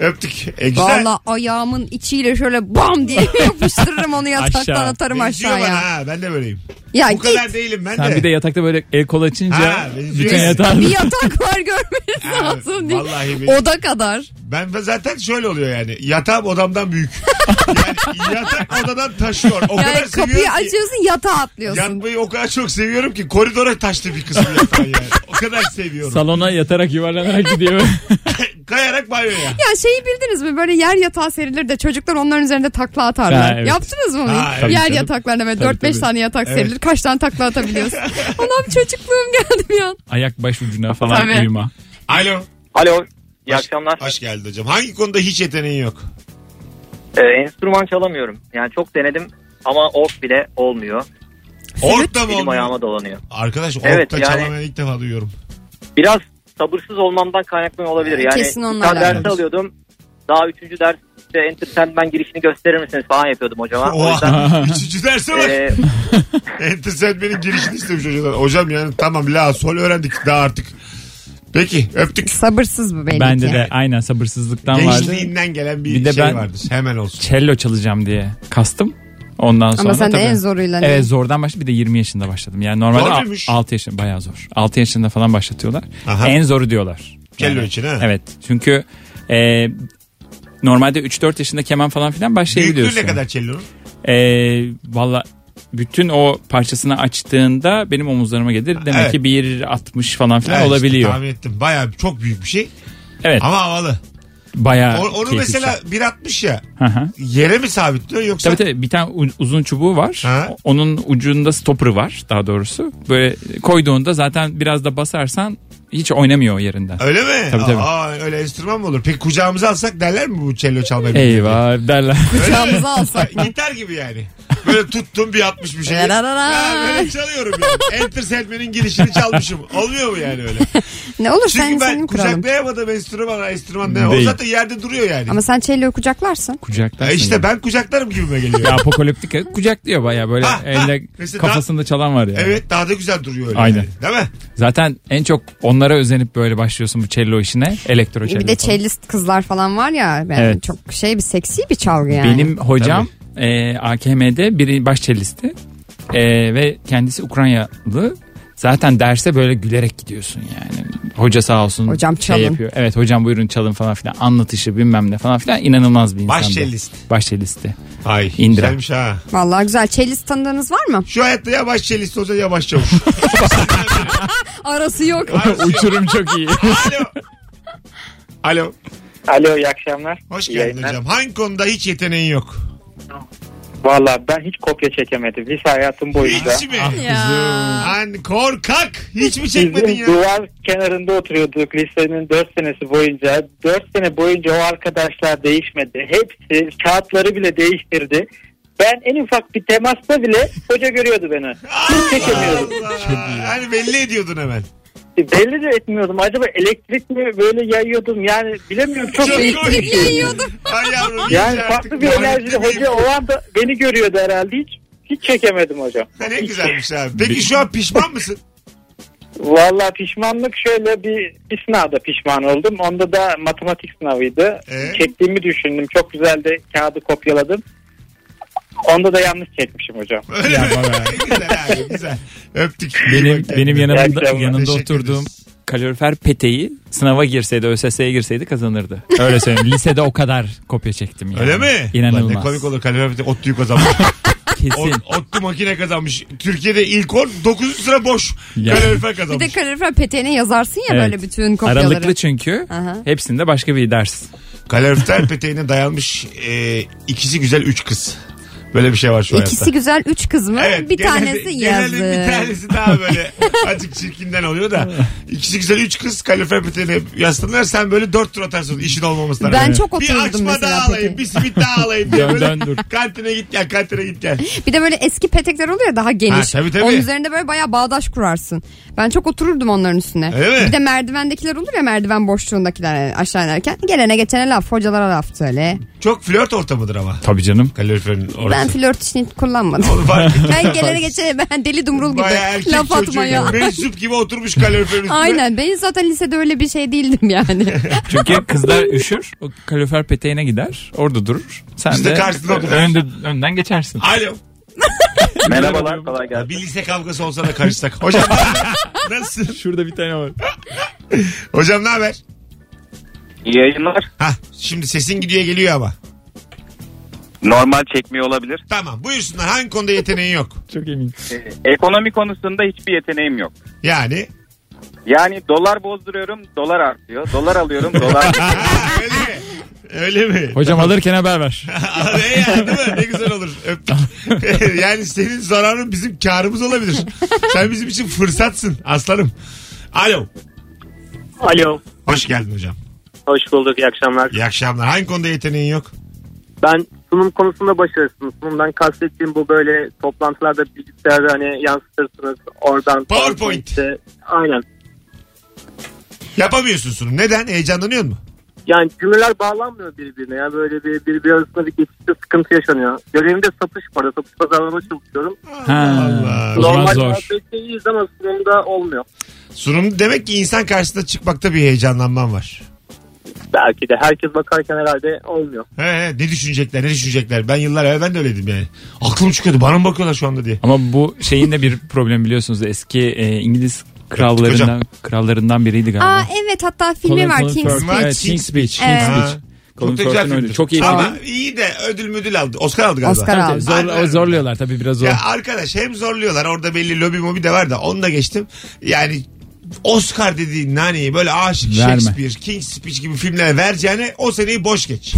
B: Öptük. E, güzel.
C: Valla ayağımın içiyle şöyle bam diye yapıştırırım onu yataktan
D: Aşağı.
C: atarım
B: Benziyor bana
C: aşağıya.
B: ha, ben de böyleyim.
C: Ya
B: Bu
C: git.
B: kadar değilim ben
D: Sen
B: de.
D: bir de yatakta böyle el kol
B: Ha,
D: açınca
B: benziyor.
D: bütün yatağın
C: bir yatak var görmeniz
B: Ha,
C: lazım değil.
B: vallahi benim-
C: Oda kadar.
B: Ben ben zaten şöyle oluyor yani. Yatağım odamdan büyük. yani yatak odadan taşıyor. O kadar
C: Yani
B: seviyorum
C: kapıyı
B: ki-
C: açıyorsun yatağa atlıyorsun.
B: Yatmayı o kadar çok seviyorum ki koridora taştı bir kısmı yatağı yani. O kadar seviyorum.
D: salona yatarak yuvarlanarak gidiyor.
B: Kayarak banyoya.
C: Ya şeyi bildiniz mi böyle yer yatağı serilir de çocuklar onların üzerinde takla atarlar.
D: Ha, evet.
C: Yaptınız mı onu?
B: Ha, evet.
C: yer
D: Tabii,
C: yataklarına böyle
D: Tabii,
C: 4-5
D: tabii.
C: tane yatak
B: Evet.
C: serilir. Kaç tane takla atabiliyorsun? Anam çocukluğum geldi bir an.
D: Ayak baş ucuna falan
C: Tabii.
D: uyuma.
B: Alo.
K: Alo. İyi
B: Hoş-
K: akşamlar.
B: Hoş geldin hocam. Hangi konuda hiç yeteneğin yok?
K: Ee, enstrüman çalamıyorum. Yani çok denedim ama ork bile olmuyor.
B: Orkta mı
K: Elim
B: olmuyor?
K: ayağıma dolanıyor.
B: Arkadaş orkta
K: Evet, yani-
B: çalamayan ilk defa duyuyorum.
K: Biraz sabırsız olmamdan kaynaklı olabilir. Yani
C: Kesin onunla
K: ben ders
C: alakalı.
K: alıyordum. Daha üçüncü derste Enter Sandman girişini gösterir misiniz falan yapıyordum hocama. O yüzden
B: Oha. Üçüncü derse bak.
K: e,
B: Enter Sandman'in girişini istemiş hocadan. Hocam yani tamam la sol öğrendik daha artık. Peki öptük.
C: Sabırsız bu belli
D: Bende
C: ki.
D: de aynen sabırsızlıktan vardı.
B: Gençliğinden gelen bir,
D: Bir de
B: şey
D: ben-
B: vardır. Hemen olsun.
D: Cello çalacağım diye kastım. Ondan sonra
C: Ama sen de
D: tabii-
C: en zoruyla. ne?
D: Evet zordan başladım. Bir de 20 yaşında başladım. Yani
B: Zor
D: normalde
B: muymuş?
D: 6 yaşında bayağı zor. 6 yaşında falan başlatıyorlar.
B: Aha.
D: En zoru diyorlar.
B: Cello
D: Yani-
B: için ha.
D: Evet. Çünkü e, normalde 3-4 yaşında keman falan filan
B: Büyüklüğü
D: başlayabiliyorsun.
B: ne kadar cello'nun?
D: E, Valla bütün o parçasını açtığında benim omuzlarıma gelir. Demek
B: Evet.
D: ki 1.60 falan filan
B: Ha, işte
D: olabiliyor.
B: tahmin ettim. Bayağı çok büyük bir şey
D: evet.
B: ama havalı.
D: Bayağı
B: O- onu
D: keyifli bir
B: mesela
D: şey.
B: 1.60 ya
D: Hı hı.
B: yere mi sabitliyor yoksa
D: Tabii tabii bir tane u- uzun çubuğu var.
B: Ha.
D: Onun ucunda stopper'ı var daha doğrusu. Böyle koyduğunda zaten biraz da basarsan hiç oynamıyor o yerinden.
B: öyle mi?
D: Tabii, tabii.
B: Aa, öyle enstrüman mı olur? Peki kucağımıza alsak derler mi bu cello çalmayı? bilmiyor
D: Eyvah derler.
B: diye? Öyle mi?
C: Kucağımıza alsak mı?
B: Gitar gibi yani. Böyle tuttum bir 60 bir şey.
C: Yararara.
B: Ha, böyle çalıyorum yani. Enter Sandman'in girişini çalmışım. Olmuyor mu yani öyle?
C: Ne olur sen
B: Çünkü ben
C: senin kuralım.
B: kucaklayamadım enstrüman, enstrüman ne? O
D: Değil.
B: zaten yerde duruyor yani.
C: Ama sen çelloyu kucaklarsın.
D: Kucaklar.
B: Ya E işte ben kucaklarım gibime geliyor.
D: Ya apokaliptik kucaklıyor baya böyle
B: Ha, ha.
D: elle
B: Ah, Mesela
D: kafasında çalan var ya.
B: Evet daha da güzel duruyor öyle.
D: Aynen.
B: yani. Değil mi?
D: Zaten en çok onlara özenip böyle başlıyorsun bu cello işine. Elektro cello.
C: E, Bir de
D: falan.
C: cellist kızlar falan var ya. Yani
D: Evet.
C: Çok şey bir seksi bir çalgı yani.
D: Benim hocam e, AKM'de biri baş cellisti E, ve kendisi Ukraynalı. Zaten derse böyle gülerek gidiyorsun yani. Hoca sağ olsun. şey
C: Hocam çalın.
D: yapıyor. Evet hocam buyurun çalın falan filan. Anlatışı bilmem ne falan filan. inanılmaz bir insandı.
B: Baş cellist.
D: Baş cellisti.
B: Ay
D: İndira.
B: güzelmiş ha.
C: Vallahi güzel. Cellist tanıdığınız var mı?
B: Şu hayatta ya baş çelist olsa ya baş çavuş.
C: Arası yok.
B: Arası yok.
D: Uçurum çok iyi.
B: Alo. Alo.
F: Alo iyi akşamlar.
B: Hoş
F: İyi
B: geldin
F: yayınlar.
B: hocam. Hangi konuda hiç yeteneğin yok?
F: Valla ben hiç kopya çekemedim. Lise hayatım boyunca.
B: Hiç
D: Ah,
B: mi?
C: ya.
B: Lan korkak. Hiç mi çekmedin
F: Bizim
B: ya?
F: duvar kenarında oturuyorduk lisenin 4 senesi boyunca. 4 sene boyunca o arkadaşlar değişmedi. Hepsi kağıtları bile değiştirdi. Ben en ufak bir temasta bile hoca görüyordu beni. Hiç çekemiyordum.
B: Allah. Hani belli ediyordun hemen.
F: Belli de etmiyordum. Acaba elektrik mi böyle yayıyordum? Yani bilemiyorum. Çok,
B: Çok
F: değişik bir
B: komik.
F: şey.
B: Ay yavrum. iyice
F: Yani
B: artık
F: farklı bir
B: lanet
F: enerjili
B: edeyim.
F: hoca o anda beni görüyordu herhalde hiç. Hiç çekemedim hocam.
B: Ha, Ne güzelmiş abi. Peki şu an pişman mısın?
F: Valla pişmanlık şöyle bir, bir sınavda pişman oldum. Onda da matematik sınavıydı.
B: Ee?
F: Çektiğimi düşündüm. Çok güzel de kağıdı kopyaladım. Onda da yanlış çekmişim hocam.
B: Öyle
D: Ya
B: mi?
D: bana.
B: güzel abi güzel. Öptük.
D: benim
B: Bak
D: benim
B: kendine.
F: İyi
D: yanımda
F: akşamlar.
D: yanımda
B: Teşekkür
D: oturduğum
B: ederiz.
D: kalorifer peteği sınava girseydi ÖSS'ye girseydi kazanırdı. Öyle söyleyeyim. Lisede o kadar kopya çektim yani.
B: Öyle mi? Ulan Ne
D: İnanılmaz.
B: komik olur kalorifer ot kazanmış.
D: Kesin.
B: Ot- Otlu makine kazanmış. Türkiye'de ilk 10 9. sıra boş.
D: Ya.
B: Kalorifer
C: Bir
B: kazanmış.
C: de kalorifer peteğine yazarsın ya
D: Evet.
C: böyle bütün kopyaları.
D: Aralıklı çünkü.
C: Aha.
D: Hepsinde başka bir ders.
B: Kalorifer peteğine dayanmış e, ikisi güzel 3 kız. Böyle bir şey var şu hayatta.
C: İkisi güzel üç kız mı? bir
B: genelde-
C: tanesi yazı.
B: genelde bir tanesi daha böyle azıcık çirkinden oluyor da. İkisi güzel üç kız kalorifer peteğine yaslanırlar. Sen böyle dört tur atarsın işin olmamasına.
C: Ben
B: rağmen.
C: çok
B: Bir
C: oturdum
B: açma
C: mesela
B: daha alayım.
C: peki.
B: Bir simit daha alayım diye
D: Dön,
B: böyle.
D: dön, dur.
B: Kantine git gel kantine git gel.
C: Bir de böyle eski petekler oluyor ya daha geniş.
B: Ha, tabii, tabii.
C: Onun üzerinde böyle bayağı bağdaş kurarsın. Ben çok otururdum onların üstüne.
B: Öyle mi?
C: Bir de merdivendekiler olur ya merdiven boşluğundakiler yani aşağı inerken. Gelene geçene laf hocalara laf söyle.
B: Çok flört ortamıdır ama.
D: Tabii canım.
B: Kaloriferin orası.
C: Ben flört için kullanmadım.
B: Onu fark ettim.
C: ben gelene geçene ben deli dumrul gibi
B: Bayağı erkek
C: laf
B: çocuğu
C: atmaya.
B: gibi, Mensup gibi oturmuş kaloriferin üstüne.
C: Aynen ben zaten lisede öyle bir şey değildim yani.
D: Çünkü kızlar üşür. O kalorifer peteğine gider. Orada durur. Sen
B: İşte
D: de
B: karşısında oturur.
D: önde- önden geçersin.
B: Alo.
F: Merhabalar kolay gelsin.
B: Bir lise kavgası olsa da karışsak. Hocam nasılsın?
D: Şurada bir tane var.
B: Hocam ne haber?
F: İyi yayınlar.
B: Hah şimdi sesin gidiyor geliyor ama.
F: Normal çekmiyor olabilir.
B: Tamam buyursunlar hangi konuda yeteneğin yok?
D: Çok emin.
J: Ekonomi konusunda hiçbir yeteneğim yok.
B: Yani.
J: Yani dolar bozduruyorum, dolar artıyor. Dolar alıyorum, dolar...
B: Ha, öyle mi? Öyle mi?
D: Hocam alırken haber ver.
B: E yani değil mi? Ne güzel olur. Öptük. yani senin zararın bizim karımız olabilir. Sen bizim için fırsatsın aslanım. Alo.
K: Alo.
B: Hoş geldin hocam.
K: Hoş bulduk. iyi akşamlar.
B: İyi akşamlar. Hangi konuda yeteneğin yok?
K: Ben sunum konusunda başarısızım. Sunumdan kastettiğim bu böyle toplantılarda bilgisayarda hani yansıtırsınız. Oradan
B: PowerPoint.
K: PowerPoint'te. Aynen.
B: Yapamıyorsun sunum. Neden? Heyecanlanıyor mu?
K: Yani cümleler bağlanmıyor birbirine. Yani böyle bir, birbiri arasında bir geçişte sıkıntı yaşanıyor. Görevimde satış para. Satış pazarlama çalışıyorum.
D: Ha.
B: Allah.
D: O zaman
K: Normal
D: zor.
K: muhabbette iyiyiz ama sunumda olmuyor.
B: Sunum demek ki insan karşısına çıkmakta bir heyecanlanman var.
K: Belki de herkes bakarken herhalde olmuyor.
B: He he ne düşünecekler ne düşünecekler. Ben yıllar evvel ben de öyleydim yani. Aklım çıkıyordu bana mı bakıyorlar şu anda diye.
D: Ama bu şeyin de bir problemi biliyorsunuz. Eski e, İngiliz krallarından krallarından biriydi galiba.
C: Aa evet hatta filmi var Kings.
B: Speech.
D: Evet, King's Speech.
C: Evet.
D: King's Speech.
B: Ha.
D: Colin
B: da güzel
D: Firth'in
B: filmdir.
D: öyle. Çok iyi
B: Ama
D: film.
B: iyi de ödül müdül aldı. Oscar aldı galiba.
C: Oscar aldı.
D: Tabii, zor, o zorluyorlar tabii biraz zor.
B: Ya arkadaş hem zorluyorlar orada belli lobi mobi de var da onu da geçtim. Yani Oscar dediğin naneyi böyle aşık
D: Verme.
B: Shakespeare, King's Speech gibi filmlere vereceğine o seneyi boş geç.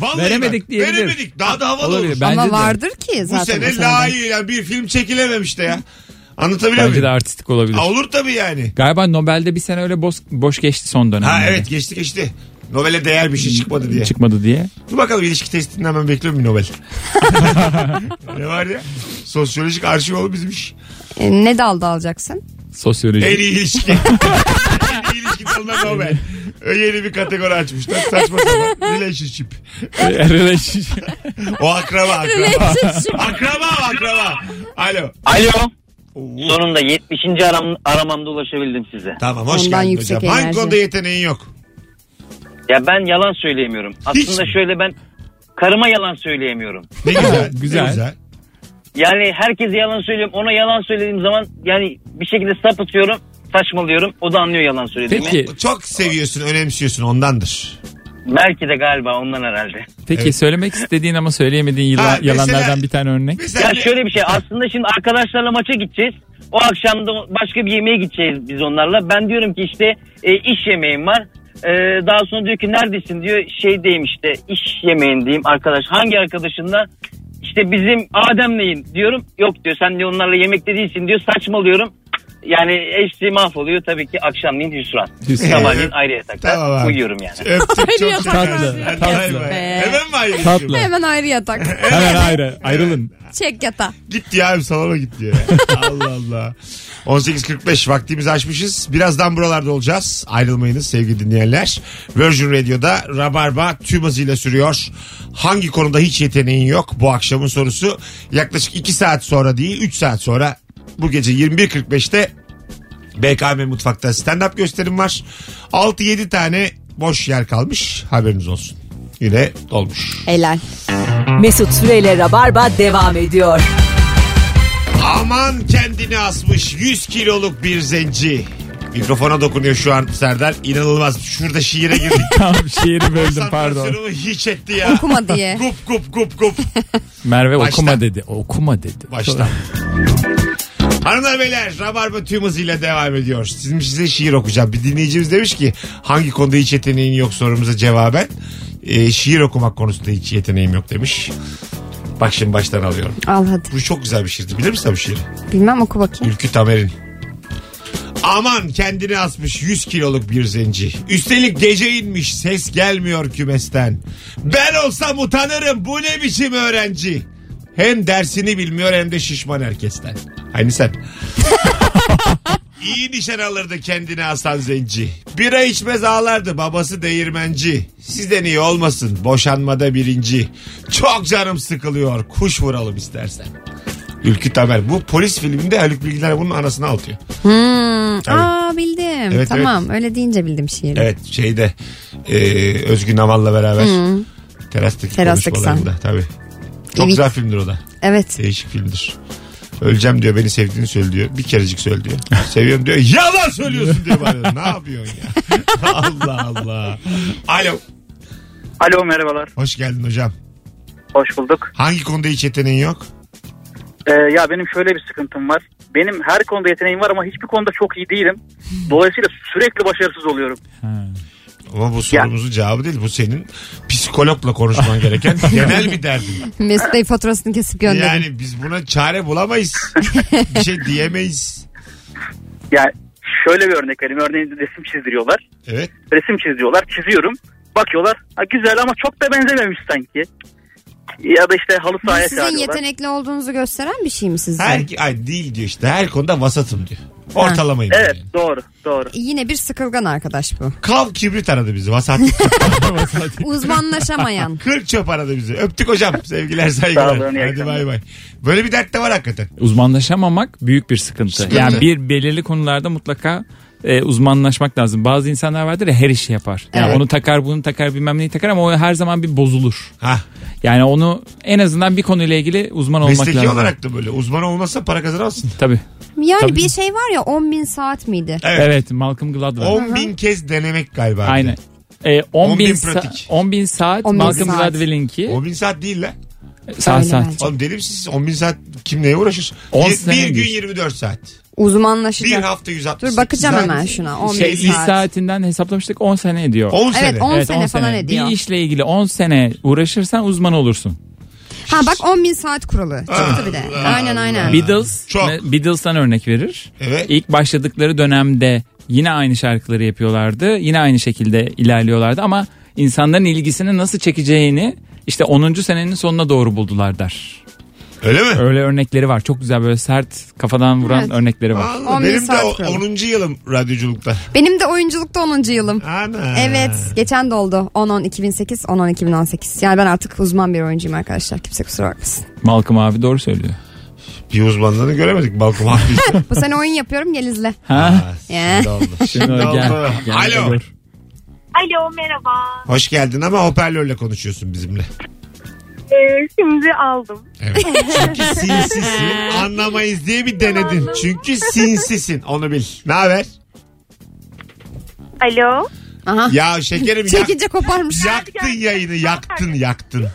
B: Vallahi
D: Veremedik
B: bak,
D: diyebilir.
B: Veremedik daha da havalı
D: Olabilir.
B: olur.
D: Bence
C: Ama
D: de.
C: vardır ki
B: Bu
C: zaten.
B: sene
C: seneden.
B: layığı yani bir film çekilememiş de ya. Anlatabiliyor
D: Bence de
B: muyum?
D: artistik olabilir.
B: Aa, olur tabii yani.
D: Galiba Nobel'de bir sene öyle boş, boş geçti son dönemde.
B: Ha evet geçti geçti. Nobel'e değer bir şey çıkmadı diye.
D: Çıkmadı diye.
B: Dur bakalım ilişki testinden ben bekliyorum bir Nobel. ne var ya? Sosyolojik arşiv oğlum bizim iş.
C: E, ne dalda alacaksın?
D: Sosyoloji.
B: En iyi ilişki. en iyi ilişki dalına Nobel. Yeni bir kategori açmışlar. Saçma sapan. Relationship.
D: Relationship.
B: O akraba akraba. akraba o akraba. Alo.
K: Alo.
B: Oo.
K: Sonunda 70. aramamda ulaşabildim size.
B: Tamam hoş
C: Ondan
B: geldin
C: yüksek
B: hocam. Hangi
C: enerji.
B: konuda yeteneğin yok?
K: Ya ben yalan söyleyemiyorum.
B: Hiç Aslında mi?
K: şöyle ben karıma yalan söyleyemiyorum.
B: Ne güzel.
D: Güzel.
B: Ne güzel.
K: Yani herkese yalan söylüyorum. Ona yalan söylediğim zaman yani bir şekilde sapıtıyorum. Saçmalıyorum. O da anlıyor yalan söylediğimi.
D: Peki,
B: Çok seviyorsun, önemsiyorsun ondandır.
K: Belki de galiba ondan herhalde.
D: peki
B: Evet.
D: söylemek istediğin ama söyleyemediğin yıla-
B: Ha, mesela-
D: yalanlardan bir tane örnek.
B: Mesela
K: ya şöyle bir şey. Aslında şimdi arkadaşlarla maça gideceğiz. O akşam da başka bir yemeğe gideceğiz biz onlarla. Ben diyorum ki işte e, iş yemeğim var. E, daha sonra diyor ki neredesin diyor. Şeydeyim işte iş yemeğindeyim arkadaş. Hangi arkadaşınla? İşte bizim Adem'leyim diyorum. Yok diyor sen diyor onlarla yemekte değilsin diyor. Saçmalıyorum. Yani hepsi mahvoluyor tabii ki akşamleyin hüsran.
D: Hüsran.
K: Sabahleyin
B: Evet.
K: ayrı yatakta
B: Tamam abi.
K: uyuyorum yani.
B: Öptük çok
C: Ayrı
B: çok
C: yatak
D: tatlı.
B: Hadi
D: Tatlı.
B: bay bay.
C: Be.
B: Hemen mi ayrı
D: Tatlı.
B: yaşıyorsun?
C: Hemen ayrı yatak.
D: Hemen ayrı. Ayrılın.
C: Çek yatağı.
B: Git ya abi salona git diyor. Allah Allah. 18.45 vaktimizi açmışız. Birazdan buralarda olacağız. Ayrılmayınız sevgili dinleyenler. Virgin Radio'da Rabarba tüm hızıyla sürüyor. Hangi konuda hiç yeteneğin yok bu akşamın sorusu. Yaklaşık 2 saat sonra değil 3 saat sonra bu gece 21.45'te BKM Mutfak'ta stand-up gösterim var. 6-7 tane boş yer kalmış haberiniz olsun. Yine dolmuş.
C: Helal.
A: Mesut Süreyle Rabarba devam ediyor.
B: Aman kendini asmış 100 kiloluk bir zenci. Mikrofona dokunuyor şu an Serdar. İnanılmaz. Şurada şiire girdik.
D: Tam şiiri böldüm pardon.
B: Konsantrasyonumu hiç etti ya.
C: Okuma diye.
B: Gup gup gup gup.
D: Merve
B: Baştan.
D: okuma dedi. Okuma dedi.
B: Baştan. Hanımlar beyler Rabarba tüm hızıyla devam ediyor. Sizin size şiir okuyacağım. Bir dinleyicimiz demiş ki hangi konuda hiç yeteneğin yok sorumuza cevaben. e, şiir okumak konusunda hiç yeteneğim yok demiş. Bak şimdi baştan alıyorum.
C: Al hadi.
B: Bu çok güzel bir şiirdi. Bilir misin sen bu şiiri?
C: Bilmem oku bakayım.
B: Ülkü Tamer'in. Aman kendini asmış 100 kiloluk bir zenci. Üstelik gece inmiş ses gelmiyor kümesten. Ben olsam utanırım bu ne biçim öğrenci. Hem dersini bilmiyor hem de şişman herkesten. Aynı sen. İyi nişan alırdı kendini asan zenci. Bira içmez ağlardı babası değirmenci. Sizden iyi olmasın boşanmada birinci. Çok canım sıkılıyor kuş vuralım istersen. Ülkü Tamer. Bu polis filminde Haluk Bilginer bunun anasını altıyor. Tabii.
C: Hmm. Aa bildim.
B: Evet,
C: tamam öyle deyince bildim şiiri.
B: Evet şeyde e, Özgün Namal'la beraber terastaki,
C: Terastaki
B: konuşmalarında tabii. Çok
C: Evet.
B: güzel filmdir o da.
C: Evet.
B: Değişik filmdir. Öleceğim diyor beni sevdiğini söyle diyor. Bir kerecik söyle diyor. Seviyorum diyor. Yalan söylüyorsun diyor bana. Ne yapıyorsun ya? Allah Allah. Alo.
L: Alo merhabalar.
B: Hoş geldin hocam.
L: Hoş bulduk.
B: Hangi konuda hiç yeteneğin yok?
L: Ee, ya benim şöyle bir sıkıntım var. Benim her konuda yeteneğim var ama hiçbir konuda çok iyi değilim. Dolayısıyla sürekli başarısız oluyorum.
B: Ama bu sorumuzun cevabı değil. Bu senin psikologla konuşman gereken genel bir derdin.
C: Mesut Bey faturasını kesip gönderin.
B: Yani biz buna çare bulamayız. bir şey diyemeyiz.
L: Yani şöyle bir örnek vereyim. Örneğin resim çizdiriyorlar.
B: Evet.
L: Resim çiziyorlar. Çiziyorum. Bakıyorlar. Ha, güzel ama çok da benzememiş sanki. Ya da işte halı
C: Bu
L: sahaya
C: sizin
L: çağırıyorlar.
C: yetenekli olduğunuzu gösteren bir şey mi sizce?
B: Her, ay değil diyor işte. Her konuda vasatım diyor. Ortalamayım. diyor.
L: Evet doğru doğru.
C: Yine bir sıkılgan arkadaş bu.
B: Kav kibrit aradı bizi. Vasat.
C: Uzmanlaşamayan.
B: Kırk çöp aradı bizi. Öptük hocam. Sevgiler
D: Sağ olun, iyi
B: saygılar. Hadi
D: akşamlar.
B: bay bay. Böyle bir dert de var hakikaten.
D: Uzmanlaşamamak büyük bir sıkıntı.
B: Sıkıntı.
D: Yani bir belirli konularda mutlaka e, uzmanlaşmak lazım. Bazı insanlar vardır ya her işi yapar. Yani
B: Evet.
D: onu takar, bunu takar, bilmem neyi takar ama o her zaman bir bozulur.
B: Ha.
D: Yani onu en azından bir konuyla ilgili uzman olmak
B: Mesleki
D: lazım.
B: olarak da böyle. Uzman olmasa para kazanamazsın.
D: Tabii.
C: Yani
D: Tabii.
C: bir şey var ya 10 bin saat miydi?
D: Evet. Malcolm Gladwell.
B: 10 bin kez denemek galiba. bir de.
D: Aynen. E, 10,
B: 10
D: bin,
B: bin
D: sa-
B: pratik.
D: 10 bin saat
B: 10 bin
D: Malcolm
B: saat.
D: Gladwell'inki.
B: 10 bin saat değil lan.
D: Saat saat.
B: Oğlum deli misiniz? 10 bin saat kim neye uğraşır?
D: On
B: Bir,
D: sene
B: bir gün
D: değil.
B: 24 saat.
C: Uzmanlaşacak.
B: Bir hafta 168
C: Dur bakacağım
B: saat.
C: hemen şuna. 10
D: Şey,
C: bin
D: iş
C: saat.
D: saatinden hesaplamıştık 10 sene ediyor.
B: 10
C: Evet, sene. 10 sene falan ediyor.
D: Bir işle ilgili 10 sene uğraşırsan uzman olursun.
C: Ha bak 10 bin saat kuralı.
B: Ah,
C: Çıktı bir de. Aynen aynen.
D: Beatles, me- Beatles'tan örnek verir. İlk başladıkları dönemde yine aynı şarkıları yapıyorlardı. Yine aynı şekilde ilerliyorlardı ama insanların ilgisini nasıl çekeceğini işte 10. senenin sonuna doğru buldular der.
B: Öyle mi?
D: Öyle örnekleri var. Çok güzel böyle sert kafadan vuran
C: Evet.
D: örnekleri var.
B: Vallahi
C: 10 bin
B: benim de
C: saat
B: o-
C: kuralı.
B: 10. yılım radyoculukta.
C: Benim de oyunculukta 10. yılım.
B: Ana.
C: Evet geçen doldu. 10-10 2008 10-10 2018. Yani ben artık uzman bir oyuncuyum arkadaşlar. Kimse kusura bakmasın.
D: Malcolm abi doğru söylüyor.
B: Bir uzmanlığını göremedik Balkım abi.
C: Bu sene oyun yapıyorum gel izle.
D: Ha?
C: Ya.
B: Şimdi oldu. Şimdi
D: Şimdi gel,
B: oldu.
D: gel
B: Alo.
M: Alo merhaba.
B: Hoş geldin ama hoparlörle konuşuyorsun bizimle.
M: Ee, şimdi aldım.
B: Evet. Çünkü sinsisin. Anlamayız diye bir denedin. Çünkü sinsisin. Onu bil. Ne haber?
M: Alo.
B: Ya şekerim
M: Çekince
C: koparmış.
B: Yaktın yayını. Yaktın yaktın.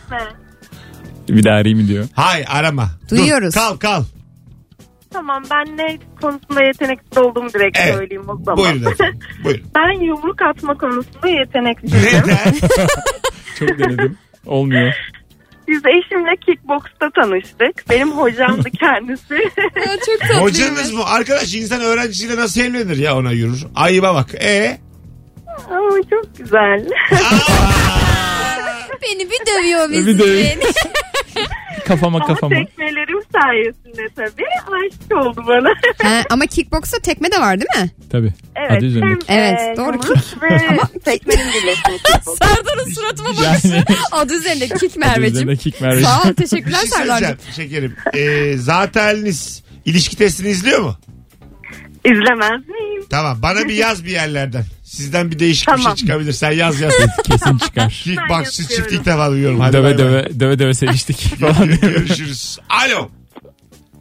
D: Bir daha arayayım mı diyor.
B: Hay arama. Dur,
M: Duyuyoruz.
B: kal kal.
M: Tamam ben ne konusunda yetenekli olduğumu direkt
B: Evet.
M: söyleyeyim o zaman.
B: Buyurun efendim. Buyurun.
M: Ben yumruk atma konusunda yetenekliyim.
D: Çok denedim. Olmuyor.
M: Biz eşimle kickboksta tanıştık. Benim hocamdı kendisi.
C: çok
B: Hocanız mı? Arkadaş insan öğrencisiyle nasıl evlenir ya ona yürür. Ayıba bak. E
M: Ama çok güzel.
C: Beni bir dövüyor bizim.
D: Bir dövüyor. Kafama
M: Ama
D: kafama.
M: tekmelerim sayesinde tabii aşık oldu bana.
C: ha, ama kickboksta tekme de var değil mi?
D: Tabii.
M: Evet.
D: Adı üzerinde.
M: hem,
C: Evet,
M: e,
C: doğru.
M: yumruk Ve tekmenin birleşimi.
C: Serdar'ın suratıma
D: Yani-
C: Adı üzerinde kick
D: üzerinde kick Merveciğim.
C: Sağ ol teşekkürler
B: bir şey söyleyeceğim
C: Serdar'cığım.
B: şekerim. E, zateniniz ilişki testini izliyor mu?
M: İzlemez miyim?
B: Tamam bana bir yaz bir yerlerden. Sizden bir değişik bir şey
M: Tamam.
B: çıkabilir. Sen yaz yaz.
D: Kesin çıkar.
B: Kickboxçı
M: yazıyorum.
B: çift ilk defa duyuyorum. Hadi
D: döve
B: bay bay.
D: döve döve döve seviştik falan.
B: Görüşürüz. Alo.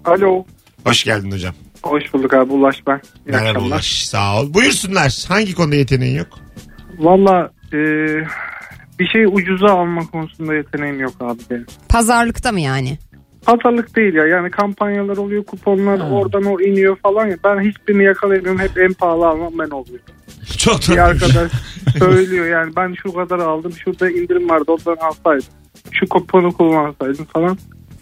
N: Alo.
B: Hoş geldin hocam.
N: Hoş bulduk abi Ulaş ben. İyi
B: Merhaba
N: akşamlar.
B: Ulaş. Sağ ol. Buyursunlar. Hangi konuda yeteneğin yok?
N: Valla e, bir şey ucuza alma konusunda yeteneğim yok abi benim.
C: Pazarlıkta mı yani?
N: Pazarlık değil ya yani kampanyalar oluyor kuponlar oradan o iniyor falan ya ben hiçbirini yakalayamıyorum hep en pahalı almam ben oluyorum.
B: Çok
N: Bir arkadaş söylüyor yani ben şu kadar aldım şurada indirim vardı oradan alsaydım şu kuponu kullansaydım falan.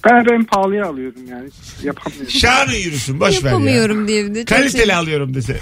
N: Ben hep en pahalıya alıyorum yani yapamıyorum.
B: Şanı yürüsün. Boş ver ya.
C: Yapamıyorum diye bir de. çok
B: Kaliteli
C: şey.
B: alıyorum dese de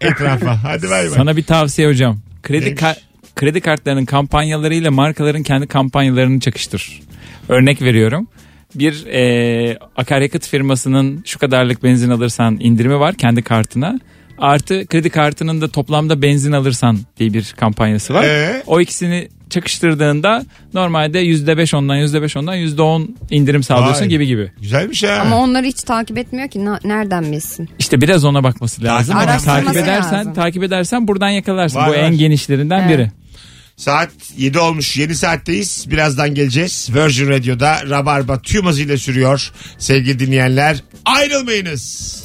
B: etrafa. Hadi bay bay.
D: Sana bir tavsiye hocam. Kredi
B: Neymiş?
D: ka- kredi kartlarının kampanyalarıyla markaların kendi kampanyalarını çakıştır. Örnek veriyorum. Bir e, akaryakıt firmasının şu kadarlık benzin alırsan indirimi var kendi kartına. Artı kredi kartının da toplamda benzin alırsan diye bir kampanyası var.
B: Ee?
D: O ikisini çakıştırdığında normalde %5 ondan %5 ondan %10 indirim sağlıyorsun
B: Vay.
D: gibi gibi.
B: Güzelmiş ha.
C: Ama onları hiç takip etmiyor ki. Na- Nereden bilsin?
D: İşte biraz ona bakması lazım. ama
C: Araştırması
D: takip edersen
C: lazım.
D: takip edersen buradan yakalarsın.
B: Var,
D: Bu
B: var.
D: en genişlerinden biri.
B: Saat 7 olmuş. Yeni saatteyiz. Birazdan geleceğiz. Virgin Radio'da Rabarba tüm hızıyla sürüyor. Sevgili dinleyenler ayrılmayınız.